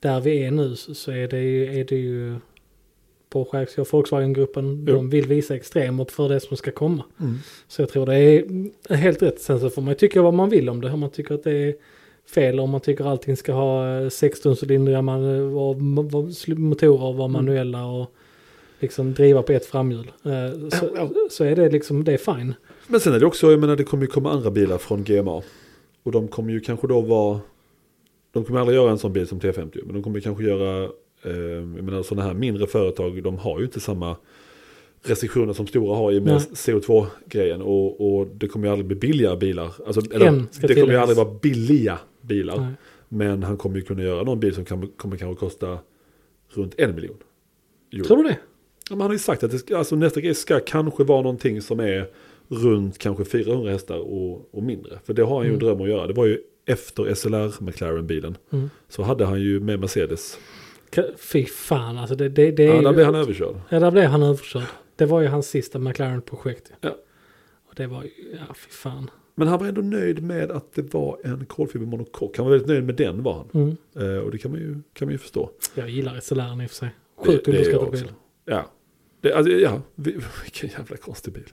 Speaker 1: där vi är nu så, så är, det ju, är det ju Porsche Axio Volkswagen-gruppen.
Speaker 2: Jo.
Speaker 1: De vill visa extremer för det som ska komma.
Speaker 2: Mm.
Speaker 1: Så jag tror det är helt rätt. Sen så får man ju tycka vad man vill om det. Om man tycker att det är fel, om man tycker allting ska ha eh, 16-cylindriga man- eh, och m- och sl- motorer och vara
Speaker 2: Mm.
Speaker 1: manuella och liksom driva på ett framhjul. Eh,
Speaker 2: Ja.
Speaker 1: Så, så är det liksom, det är fine.
Speaker 2: Men sen är det också, jag menar det kommer ju komma andra bilar från GMA. Och de kommer ju kanske då vara, de kommer aldrig göra en sån bil som T50. Men de kommer ju kanske göra, eh, jag menar sådana här mindre företag, de har ju inte samma restriktioner som stora har i och med
Speaker 1: Nej.
Speaker 2: CO2-grejen. Och, och det kommer ju aldrig bli billiga bilar. Alltså,
Speaker 1: Än,
Speaker 2: eller,
Speaker 1: ska
Speaker 2: det kommer ju
Speaker 1: tilläggas.
Speaker 2: aldrig vara billiga bilar.
Speaker 1: Nej.
Speaker 2: Men han kommer ju kunna göra någon bil som kan, kommer kanske kosta runt en miljon. euro.
Speaker 1: Tror du det?
Speaker 2: Ja, men han har ju sagt att det ska, alltså nästa grej ska kanske vara någonting som är runt kanske 400 hästar och, och mindre. För det har han ju en dröm att göra. Det var ju efter SLR McLaren-bilen.
Speaker 1: Mm.
Speaker 2: Så hade han ju med Mercedes.
Speaker 1: Ka- Fy fan alltså, det, det, det är
Speaker 2: Ja, där
Speaker 1: ju-
Speaker 2: blev han överkörd.
Speaker 1: ja, där blev han överkörd. Det var ju hans sista McLaren-projekt. ju.
Speaker 2: Ja.
Speaker 1: Och det var ju, ja fy fan.
Speaker 2: Men han var ändå nöjd med att det var en kolfibermonokock. Han var väldigt nöjd med den var han.
Speaker 1: Mm.
Speaker 2: Eh, och det kan man ju, kan man ju förstå.
Speaker 1: Jag gillar SLR i och för sig.
Speaker 2: Det,
Speaker 1: Sjukt
Speaker 2: det är jag
Speaker 1: underskattad
Speaker 2: också.
Speaker 1: bil.
Speaker 2: Ja. Det, alltså, ja, vi, vilken jävla konstig bil.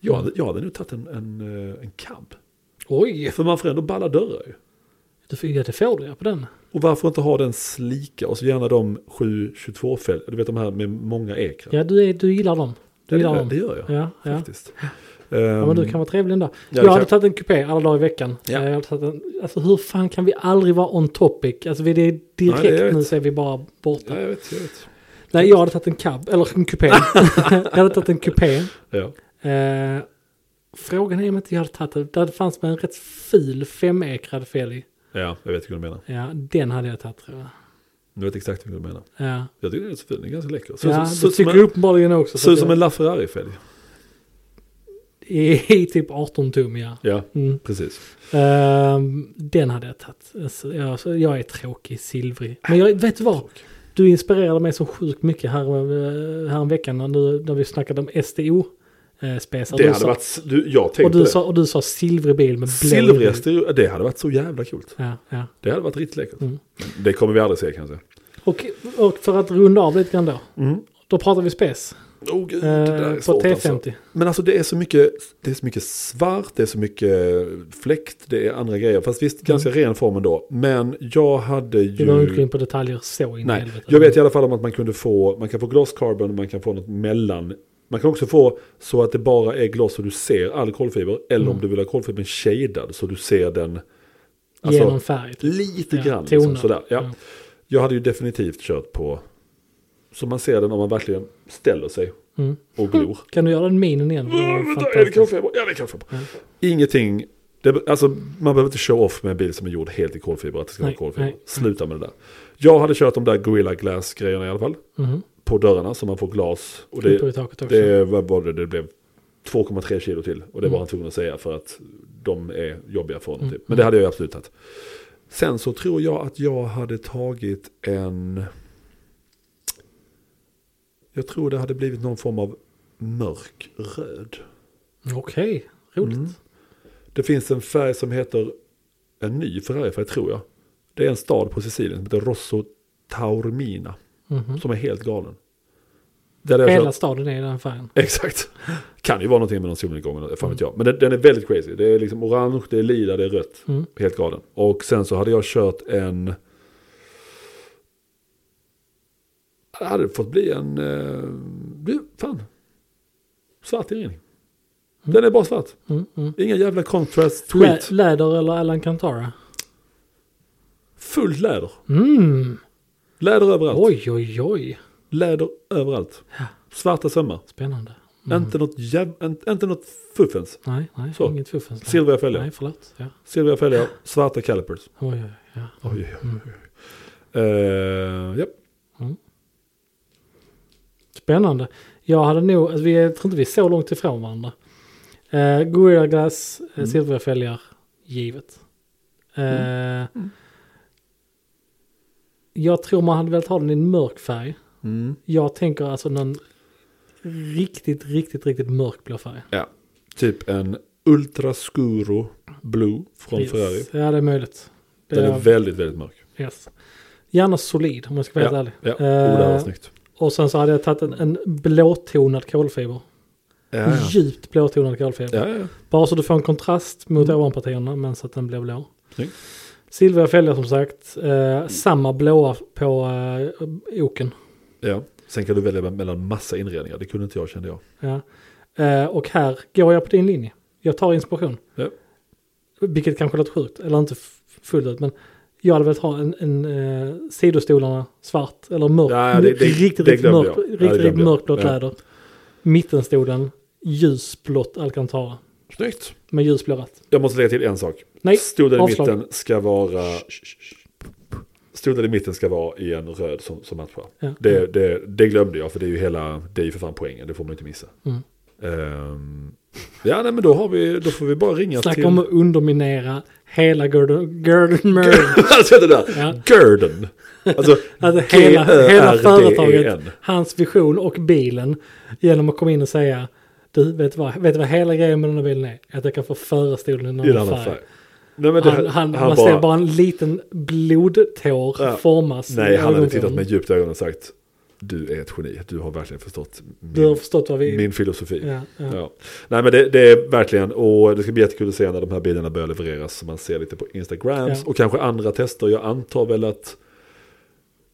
Speaker 2: Jag, hade- jag hade nog tagit en, en, eh, en cab.
Speaker 1: Oj!
Speaker 2: För man får ändå balla dörrar ju.
Speaker 1: Du får, ja, det får du ja, på den.
Speaker 2: Och varför inte ha den slika och så gärna de 722 fäll Du vet de här med många ekrar.
Speaker 1: Ja, du, är, du gillar dem. Du
Speaker 2: det,
Speaker 1: gillar
Speaker 2: gör-
Speaker 1: dem.
Speaker 2: det gör jag
Speaker 1: Ja, ja.
Speaker 2: faktiskt. Ehm,
Speaker 1: ja, men du kan vara trevlig ändå.
Speaker 2: det
Speaker 1: jag hade
Speaker 2: kan-
Speaker 1: tagit en kupé alla dagar i veckan.
Speaker 2: Ja.
Speaker 1: Eh, Jag hade tagit en, alltså hur fan kan vi aldrig vara on topic? Alltså vi det är direkt
Speaker 2: Nej, det är
Speaker 1: nu
Speaker 2: rätt.
Speaker 1: så är vi bara borta.
Speaker 2: Ja, jag vet, jag vet.
Speaker 1: Nej, jag hade tagit en cab, eller en kupé. jag hade tagit en kupé.
Speaker 2: Ja.
Speaker 1: Eh, frågan är om inte jag hade tagit det. Där fanns med en rätt ful femekrad fälg.
Speaker 2: ja, jag vet vad du menar.
Speaker 1: Ja, den hade jag tagit tror jag.
Speaker 2: Jag vet exakt vad du menar.
Speaker 1: Ja,
Speaker 2: Jag tycker den är så fin, den är ganska läcker. Så,
Speaker 1: ja
Speaker 2: så, så,
Speaker 1: du
Speaker 2: som,
Speaker 1: tycker
Speaker 2: en,
Speaker 1: uppenbarligen också.
Speaker 2: så
Speaker 1: att
Speaker 2: som
Speaker 1: jag-
Speaker 2: en LaFerrari-fälg.
Speaker 1: I, I typ 18 tum ja.
Speaker 2: Ja,
Speaker 1: Mm.
Speaker 2: precis.
Speaker 1: Ehm, den hade jag tagit. Alltså, jag, så jag är tråkig, silvrig. Men jag, vet du vad? Du inspirerade mig så sjukt mycket här, eh, här veckan när, du, när vi snackade om STO-spesar.
Speaker 2: Det hade varit, s- du, jag
Speaker 1: och
Speaker 2: tänkte
Speaker 1: du,
Speaker 2: det.
Speaker 1: sa, och du sa silvrig bil med blå.
Speaker 2: Silvriga stereo- det hade varit så jävla kul.
Speaker 1: Ja, ja.
Speaker 2: Det hade varit riktigt läckert.
Speaker 1: Mm.
Speaker 2: Men Det kommer vi aldrig se kanske.
Speaker 1: Och, och för att runda av lite grann då.
Speaker 2: Mm.
Speaker 1: Då pratar vi spec.
Speaker 2: Oh, gud, det där
Speaker 1: Eh,
Speaker 2: är
Speaker 1: på
Speaker 2: svårt,
Speaker 1: T50.
Speaker 2: alltså. Men alltså det är, så mycket, det är så mycket svart, det är så mycket fläkt, det är andra grejer. Fast visst, ganska
Speaker 1: Mm.
Speaker 2: ren form ändå. Men jag hade
Speaker 1: Vi behöver inte gå
Speaker 2: ju...
Speaker 1: in på detaljer så in i
Speaker 2: Nej,
Speaker 1: helvete.
Speaker 2: jag vet i alla fall om att man kunde få, man kan få gloss carbon, man kan få något mellan. Man kan också få så att det bara är gloss och du ser all kolfiber. Eller
Speaker 1: Mm.
Speaker 2: om du vill ha kolfibern shadad så du ser den. alltså,
Speaker 1: Genom färg. typ.
Speaker 2: Lite
Speaker 1: Ja, Mm.
Speaker 2: grann. Liksom,
Speaker 1: toner.
Speaker 2: sådär. Ja.
Speaker 1: Ja.
Speaker 2: Jag hade ju definitivt kört på, som man ser den om man verkligen ställer sig
Speaker 1: Mm.
Speaker 2: och glor.
Speaker 1: Kan du göra den minen igen? Det var
Speaker 2: Mm, vänta, är det
Speaker 1: fantastiskt.
Speaker 2: kolfiber? Ja, det är kolfiber.
Speaker 1: Ja.
Speaker 2: Ingenting, det, alltså, man behöver inte show off med en bil som är gjord helt i kolfiber, att det ska
Speaker 1: Nej,
Speaker 2: vara kolfiber.
Speaker 1: nej, nej.
Speaker 2: Sluta med det där. Jag hade kört de där Gorilla Glass-grejerna i alla fall,
Speaker 1: Mhm.
Speaker 2: på dörrarna så man får glas. Och
Speaker 1: Uppe i
Speaker 2: det,
Speaker 1: taket också.
Speaker 2: det var var det, det blev 2,3 kilo till. Och det var
Speaker 1: Mm.
Speaker 2: han tvungen att säga för att de är jobbiga för honom.
Speaker 1: Mm.
Speaker 2: Typ. Men det hade jag ju absolut tagit. Sen så tror jag att jag hade tagit en... Jag tror det hade blivit någon form av mörk röd.
Speaker 1: Okej, roligt.
Speaker 2: Mm. Det finns en färg som heter en ny Ferrari-färg tror jag. Det är en stad på Sicilien som heter Rosso Taormina.
Speaker 1: Mhm.
Speaker 2: Som är helt galen. Där hade jag
Speaker 1: Hela
Speaker 2: kört-
Speaker 1: staden är i den färgen.
Speaker 2: Exakt. Kan ju vara någonting med någon solnedgång, eller fan vet jag. Men den, den är väldigt crazy. Det är liksom orange, det är lila, det är rött.
Speaker 1: Mm.
Speaker 2: Helt galen. Och sen så hade jag kört en... Det hade fått bli en... Eh, bli- fan. Svart inredning. Den är bara svart.
Speaker 1: Mm, mm.
Speaker 2: Inga jävla contrast
Speaker 1: Lä,
Speaker 2: tweet.
Speaker 1: läder eller Alan Cantara?
Speaker 2: Fullt läder.
Speaker 1: Mm.
Speaker 2: Läder överallt.
Speaker 1: Oj, oj, oj.
Speaker 2: Läder överallt. Svarta sömmar.
Speaker 1: Spännande.
Speaker 2: Inte, något jäv, inte, inte något fuffens.
Speaker 1: Nej, nej,
Speaker 2: Så.
Speaker 1: inget fuffens. där.
Speaker 2: Silvriga fälgar.
Speaker 1: Nej, förlåt. Ja.
Speaker 2: Silvriga fälgar. Svarta calipers.
Speaker 1: Oj, oj, oj. Ja.
Speaker 2: Oj, oj, oj. Eh, japp.
Speaker 1: Spännande. Jag hade nog, alltså, vi är, tror inte vi är så långt ifrån varandra. Eh, Gorilla Glass, eh,
Speaker 2: Mm.
Speaker 1: silvriga fälgar, givet. Eh,
Speaker 2: Mm.
Speaker 1: Jag tror man hade velat ha den i en mörk färg.
Speaker 2: Mm.
Speaker 1: Jag tänker alltså någon riktigt, riktigt, riktigt mörkblå färg.
Speaker 2: Ja. Typ en Ultrascuro Blue från
Speaker 1: Yes.
Speaker 2: Ferrari.
Speaker 1: Ja, det är möjligt. Det
Speaker 2: Den är väldigt, väldigt mörk.
Speaker 1: yes. Gärna solid om jag ska vara
Speaker 2: ja,
Speaker 1: helt
Speaker 2: ja.
Speaker 1: ärlig.
Speaker 2: Oh, det här var
Speaker 1: Eh,
Speaker 2: snyggt.
Speaker 1: och sen så hade jag tagit en, en blåtonad kolfiber.
Speaker 2: Ja, ja.
Speaker 1: Djupt blåtonad kolfiber.
Speaker 2: ja, ja.
Speaker 1: Bara så du får en kontrast mot ovanpartierna men så att den blir blå.
Speaker 2: Snyggt.
Speaker 1: Silvriga fälgar som sagt. Eh, samma blåa på eh, oken.
Speaker 2: ja. Sen kan du välja mellan massa inredningar. Det kunde inte jag kände jag.
Speaker 1: Ja. Eh, och här går jag på din linje. Jag tar inspiration.
Speaker 2: Ja.
Speaker 1: Vilket kanske låter sjukt, eller inte f- fullt ut. Men jag hade velat ha en, en eh, sidostolarna svart eller mörk.
Speaker 2: Ja, ja, det- det- det
Speaker 1: riktigt, riktigt
Speaker 2: glömde
Speaker 1: mörkt
Speaker 2: jag. Ja, det
Speaker 1: riktigt, riktigt
Speaker 2: glömde jag.
Speaker 1: mörkblått
Speaker 2: Ja.
Speaker 1: läder. Mittenstolen, ljusblått alcantara.
Speaker 2: Snyggt.
Speaker 1: Med ljusblå ratt.
Speaker 2: Jag måste lägga till en sak.
Speaker 1: Nej,
Speaker 2: Stolen i
Speaker 1: avslag.
Speaker 2: mitten ska vara... Stolen i mitten ska vara i en röd som, som matchar.
Speaker 1: Ja.
Speaker 2: Det, det, det glömde jag för det är ju hela, det är ju för fan poängen, det får man inte missa.
Speaker 1: Mm.
Speaker 2: Ehm, ja, nej, men då, har vi, då får vi bara ringa till...
Speaker 1: Snacka om att underminera hela Gordon, Gordon Murray.
Speaker 2: alltså det där,
Speaker 1: Ja.
Speaker 2: Gurdon. Alltså,
Speaker 1: Alltså hela,
Speaker 2: G-Ö-R-D-E-N.
Speaker 1: hela företaget, hans vision och bilen. Genom att komma in och säga, du vet du vad, vet du vad hela grejen med den här bilen är? Att jag kan få föra stolen i
Speaker 2: i en
Speaker 1: någon
Speaker 2: annan
Speaker 1: färg.
Speaker 2: färg. Nej, men det,
Speaker 1: Oh, Han, han, man
Speaker 2: bara-
Speaker 1: ser bara en liten blodtår
Speaker 2: Ja.
Speaker 1: formas. i
Speaker 2: Nej, han hade
Speaker 1: ögonen.
Speaker 2: tittat med djupt i ögonen och sagt Du är ett geni, du har verkligen förstått min,
Speaker 1: Du har förstått vad vi...
Speaker 2: min filosofi.
Speaker 1: Ja, ja.
Speaker 2: Ja. Nej men det, det är verkligen, och det ska bli jättekul att se när de här bilarna börjar levereras så man ser lite på Instagrams
Speaker 1: Ja.
Speaker 2: och kanske andra tester. Jag antar väl att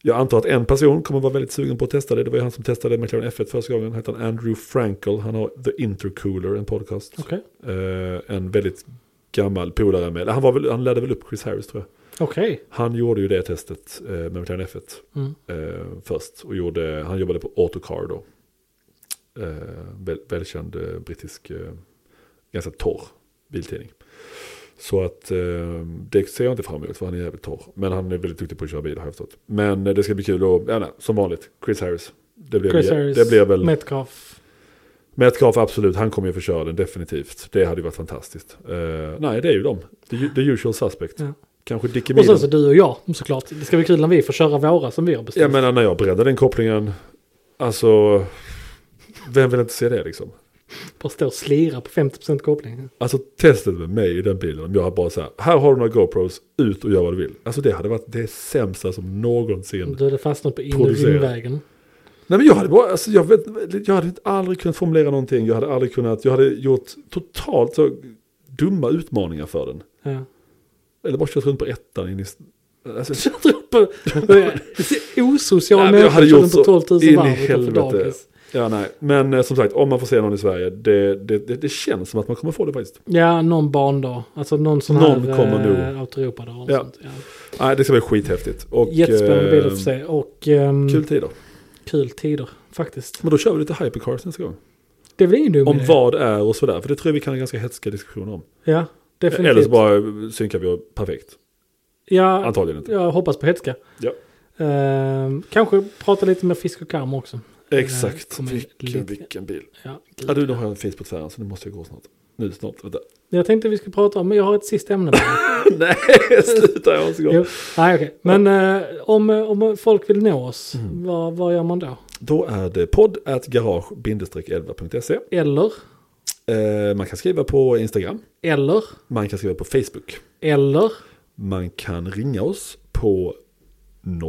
Speaker 2: jag antar att en person kommer vara väldigt sugen på att testa det. Det var ju han som testade McLaren F1 första gången. Han heter Andrew Frankel. Han har The Intercooler, en podcast.
Speaker 1: Okej.
Speaker 2: Eh, en väldigt gammal polare med. Han, var väl, han ledde väl upp Chris Harris tror jag.
Speaker 1: Okej.
Speaker 2: Han gjorde ju det testet eh, med McLaren F1
Speaker 1: Mm.
Speaker 2: eh, först. Och gjorde, han jobbade på Autocar då. Eh, väl, välkänd eh, brittisk, eh, ganska torr biltidning. Så att eh, det ser jag inte fram emot för han är jävligt torr. Men han är väldigt duktig på att köra bil har jag förstått. Men eh, det ska bli kul och, ja, nej, som vanligt, Chris Harris. Det blir,
Speaker 1: Chris
Speaker 2: väl-
Speaker 1: Harris,
Speaker 2: det blir väl...
Speaker 1: Metcalf.
Speaker 2: Metcalf absolut, han kommer ju få köra den definitivt. Det hade ju varit fantastiskt. Eh, nej, det är ju dem. The, u- the usual suspect.
Speaker 1: Ja.
Speaker 2: Kanske Dickie
Speaker 1: Och sen
Speaker 2: Meaden.
Speaker 1: så du och jag såklart. Det ska bli kul när vi får köra våra som vi har bestämt.
Speaker 2: Jag menar när jag breddade den kopplingen, alltså, vem vill inte se det liksom?
Speaker 1: Bara stå och slira på 50% koppling.
Speaker 2: Alltså testet med mig i den bilen, om jag hade bara så här, här har du några GoPros, ut och gör vad du vill. Alltså det hade varit det sämsta som någonsin.
Speaker 1: Du hade fastnat på
Speaker 2: Producera.
Speaker 1: invägen.
Speaker 2: Nej men jag hade bara, alltså jag vet, jag hade aldrig kunnat formulera någonting, jag hade aldrig kunnat, jag hade gjort totalt så dumma utmaningar för den.
Speaker 1: Ja.
Speaker 2: Eller bara kört runt på ettan in i... Alltså,
Speaker 1: Kört upp på... Osociala
Speaker 2: Nej, men
Speaker 1: människor
Speaker 2: jag hade
Speaker 1: som
Speaker 2: gjort
Speaker 1: på
Speaker 2: så
Speaker 1: 12 000
Speaker 2: in i
Speaker 1: varv utanför
Speaker 2: helvete.
Speaker 1: dagis.
Speaker 2: ja nej, men eh, som sagt om man får se någon i Sverige, det, det, det, det känns som att man kommer få det faktiskt.
Speaker 1: Ja, någon barndag. Alltså någon sån
Speaker 2: Någon
Speaker 1: här
Speaker 2: kommer
Speaker 1: eh, Autoeuropadag.
Speaker 2: Ja.
Speaker 1: Ja. Ja.
Speaker 2: Nej, det ska bli skithäftigt. Och,
Speaker 1: Jättespännande bil att
Speaker 2: eh,
Speaker 1: få se och ehm,
Speaker 2: Kul
Speaker 1: kul.
Speaker 2: tider. tider.
Speaker 1: tider faktiskt.
Speaker 2: Men då kör vi lite hypercars nästa gång.
Speaker 1: Det är väl ingen dum
Speaker 2: Om
Speaker 1: idé?
Speaker 2: vad är och sådär. För det tror jag vi kan ha ganska hetska diskussioner om.
Speaker 1: Ja, definitivt.
Speaker 2: Eller så bara synkar vi och perfekt.
Speaker 1: ja,
Speaker 2: Antagligen inte.
Speaker 1: jag hoppas på hetska.
Speaker 2: Ja.
Speaker 1: Ehm, kanske prata lite med Fisk och Karm också.
Speaker 2: Exakt.
Speaker 1: kommer
Speaker 2: Vilken,
Speaker 1: lite-
Speaker 2: vilken bil.
Speaker 1: Ja, gud.
Speaker 2: Ja du, nu har jag en fis på tvären så nu måste jag gå snart. Nu snart. Vänta.
Speaker 1: Jag tänkte vi skulle prata om, men jag har ett sista ämne. bara.
Speaker 2: Nej, sluta. Jag måste gå.
Speaker 1: jo, nej, okej. Men eh, om, om folk vill nå oss,
Speaker 2: Mm.
Speaker 1: vad, vad gör man då?
Speaker 2: Då är det podd at garage-11.se.
Speaker 1: Eller,
Speaker 2: Eh, man kan skriva på Instagram.
Speaker 1: eller,
Speaker 2: Man kan skriva på Facebook.
Speaker 1: eller,
Speaker 2: Man kan ringa oss på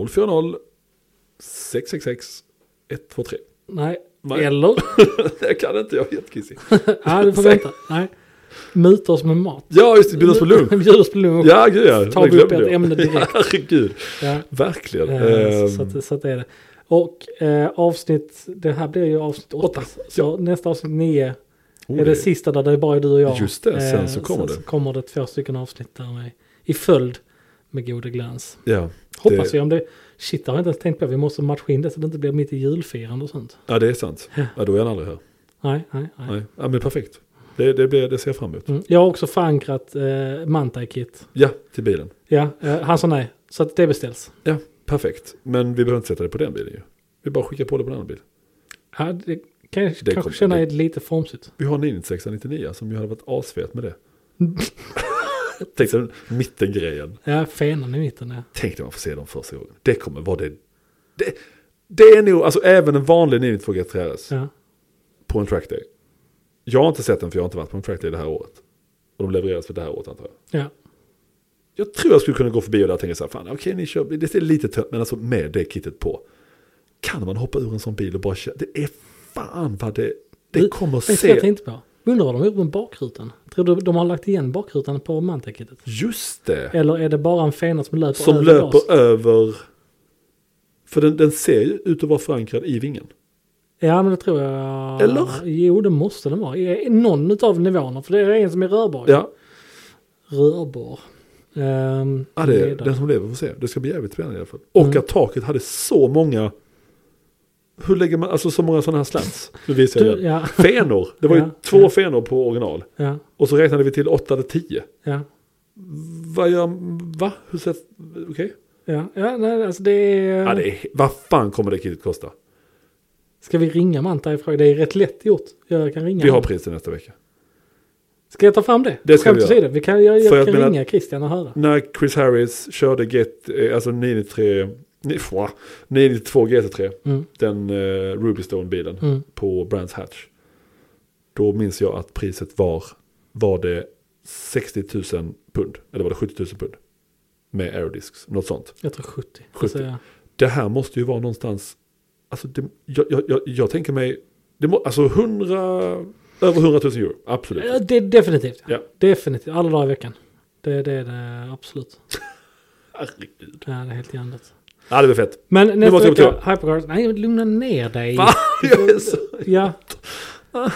Speaker 2: 040 666 123.
Speaker 1: nej,
Speaker 2: Nej.
Speaker 1: eller.
Speaker 2: Jag kan inte, jag är jättekissig.
Speaker 1: Nej, du får
Speaker 2: Säg.
Speaker 1: vänta. Nej. Muta oss med mat.
Speaker 2: Ja, just det, bjuda oss på lunch.
Speaker 1: Bjud oss på lunch.
Speaker 2: Ja, gud ja.
Speaker 1: Tar vi upp
Speaker 2: glömde
Speaker 1: ett
Speaker 2: jag.
Speaker 1: ämne direkt.
Speaker 2: Herregud,
Speaker 1: Ja.
Speaker 2: verkligen.
Speaker 1: Eh,
Speaker 2: Ehm,
Speaker 1: Så, att, så att det är det. Och eh, avsnitt, det här blir ju avsnitt åtta.
Speaker 2: Åtta,
Speaker 1: Så nästa avsnitt nio
Speaker 2: oh,
Speaker 1: är
Speaker 2: det-
Speaker 1: det sista där det är bara du och jag. Eh,
Speaker 2: Just det, sen så
Speaker 1: sen
Speaker 2: kommer det.
Speaker 1: Så kommer det två stycken avsnitt där med, i följd med goda glans.
Speaker 2: Ja,
Speaker 1: Hoppas
Speaker 2: Det-
Speaker 1: vi om det, shit det har jag inte ens tänkt på, vi måste matcha in det så det inte blir mitt i julfirande och sånt.
Speaker 2: ja, det är sant.
Speaker 1: Ja.
Speaker 2: Ja, då är han aldrig här.
Speaker 1: Nej, nej, nej.
Speaker 2: Nej. Ja, men perfekt. Det, det, blir, det ser jag fram emot.
Speaker 1: Mm. Jag har också förankrat eh, Mantai-kit.
Speaker 2: Ja, till bilen.
Speaker 1: Ja, eh, han sa nej. Så att det beställs.
Speaker 2: Ja, perfekt. Men vi behöver inte sätta det på den bilen ju. Vi bara skickar på det på en annan bil.
Speaker 1: Ja, det kan jag
Speaker 2: Det
Speaker 1: kanske
Speaker 2: kommer-
Speaker 1: känna
Speaker 2: det-
Speaker 1: är lite formsigt.
Speaker 2: Vi har en 96 99 som ju hade varit asfet med det. Tänk dig den mittengrejen.
Speaker 1: Ja, fenan i mitten ja.
Speaker 2: Tänk dig man får se dem första gången. Det kommer vara det. Det, det är nog, alltså även en vanlig 992 GTRS.
Speaker 1: ja.
Speaker 2: på en trackday. Jag har inte sett den för jag har inte varit på en trackday det här året. Och de levereras för det här året antar jag.
Speaker 1: Ja,
Speaker 2: Jag tror jag skulle kunna gå förbi och där och tänka så här, fan okej ni kör, det är lite tönt, men alltså med det kittet på. Kan man hoppa ur en sån bil och bara köra, det är fan vad det, det
Speaker 1: Du,
Speaker 2: kommer
Speaker 1: vet du vad jag
Speaker 2: se.
Speaker 1: tänkte på? Undrar vad de har gjort med bakrutan? Tror du de har lagt igen bakrutan på mantelkittet?
Speaker 2: Just det,
Speaker 1: Eller är det bara en fena som löper
Speaker 2: som
Speaker 1: över
Speaker 2: löper
Speaker 1: glaset?
Speaker 2: över. För den, den ser ju ut att vara förankrad i vingen.
Speaker 1: Ja, men det tror jag.
Speaker 2: Eller?
Speaker 1: Jo, det måste den vara. I- i Någon utav nivåerna. För det är en som är rörbar.
Speaker 2: Ja,
Speaker 1: Rörbar. Ehm,
Speaker 2: ja det är
Speaker 1: ledare.
Speaker 2: den som lever får se. Det ska bli jävligt spännande i alla fall. Och
Speaker 1: Mm.
Speaker 2: att taket hade så många, hur lägger man, alltså så många sådana här slants. Nu visar jag igen.
Speaker 1: du, ja,
Speaker 2: Fenor. Det var ju
Speaker 1: Ja,
Speaker 2: två
Speaker 1: ja.
Speaker 2: fenor på original.
Speaker 1: ja,
Speaker 2: Och så räknade vi till 8 eller 10.
Speaker 1: ja.
Speaker 2: Vad gör... Va? Hur sätts... Okej?
Speaker 1: Ja, ja nej, alltså det är...
Speaker 2: Ja, det är... Vad fan kommer det kittet kosta?
Speaker 1: Ska vi ringa Manta i fråga? Det är rätt lätt gjort. Jag kan ringa.
Speaker 2: Vi har
Speaker 1: honom.
Speaker 2: priset nästa vecka.
Speaker 1: Ska jag ta fram det?
Speaker 2: Det ska vi
Speaker 1: Skämt
Speaker 2: göra.
Speaker 1: åsido, vi kan, jag,
Speaker 2: För jag
Speaker 1: jag kan
Speaker 2: menar-
Speaker 1: ringa Christian och höra.
Speaker 2: När Chris Harris körde get, eh, alltså 993... ni- fwa, 992 GT3,
Speaker 1: Mm,
Speaker 2: den eh, Ruby Stone-bilen
Speaker 1: mm.
Speaker 2: på Brands Hatch. Då minns jag att priset var, var det 60 000 pund? Eller var det 70 000 pund? Med aerodiscs, något sånt.
Speaker 1: Jag tror 70.
Speaker 2: 70.
Speaker 1: Så, ja.
Speaker 2: Det här måste ju vara någonstans, Alltså, det, jag, jag, jag, jag tänker mig, det må, alltså 100, över 100 000 euro, absolut.
Speaker 1: Ja, Det, definitivt.
Speaker 2: Ja.
Speaker 1: Definitivt. Alla dagar i veckan. Det, det är det absolut.
Speaker 2: Herregud.
Speaker 1: Ja, det är helt hjärndött.
Speaker 2: Ja, det blir fett.
Speaker 1: Men nästa
Speaker 2: måste jag
Speaker 1: vecka,
Speaker 2: gå
Speaker 1: Hypercard. Nej, lugna ner dig.
Speaker 2: Va? Jag är så...
Speaker 1: Ja,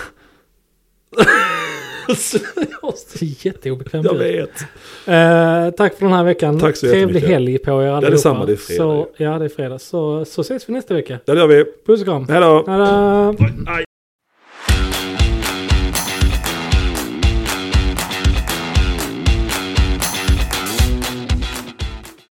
Speaker 2: jag är så-
Speaker 1: det är jätteobekvämt.
Speaker 2: Jag vet.
Speaker 1: Eh, tack för den här veckan.
Speaker 2: Tack så
Speaker 1: Trevlig
Speaker 2: jättemycket.
Speaker 1: helg på er allihopa.
Speaker 2: det är samma, det är fredag.
Speaker 1: Så, ja, det är fredag. Så, så ses vi nästa vecka.
Speaker 2: Ja, det gör vi.
Speaker 1: Puss och kram.
Speaker 2: Hej då.
Speaker 1: Tada!
Speaker 2: Aj.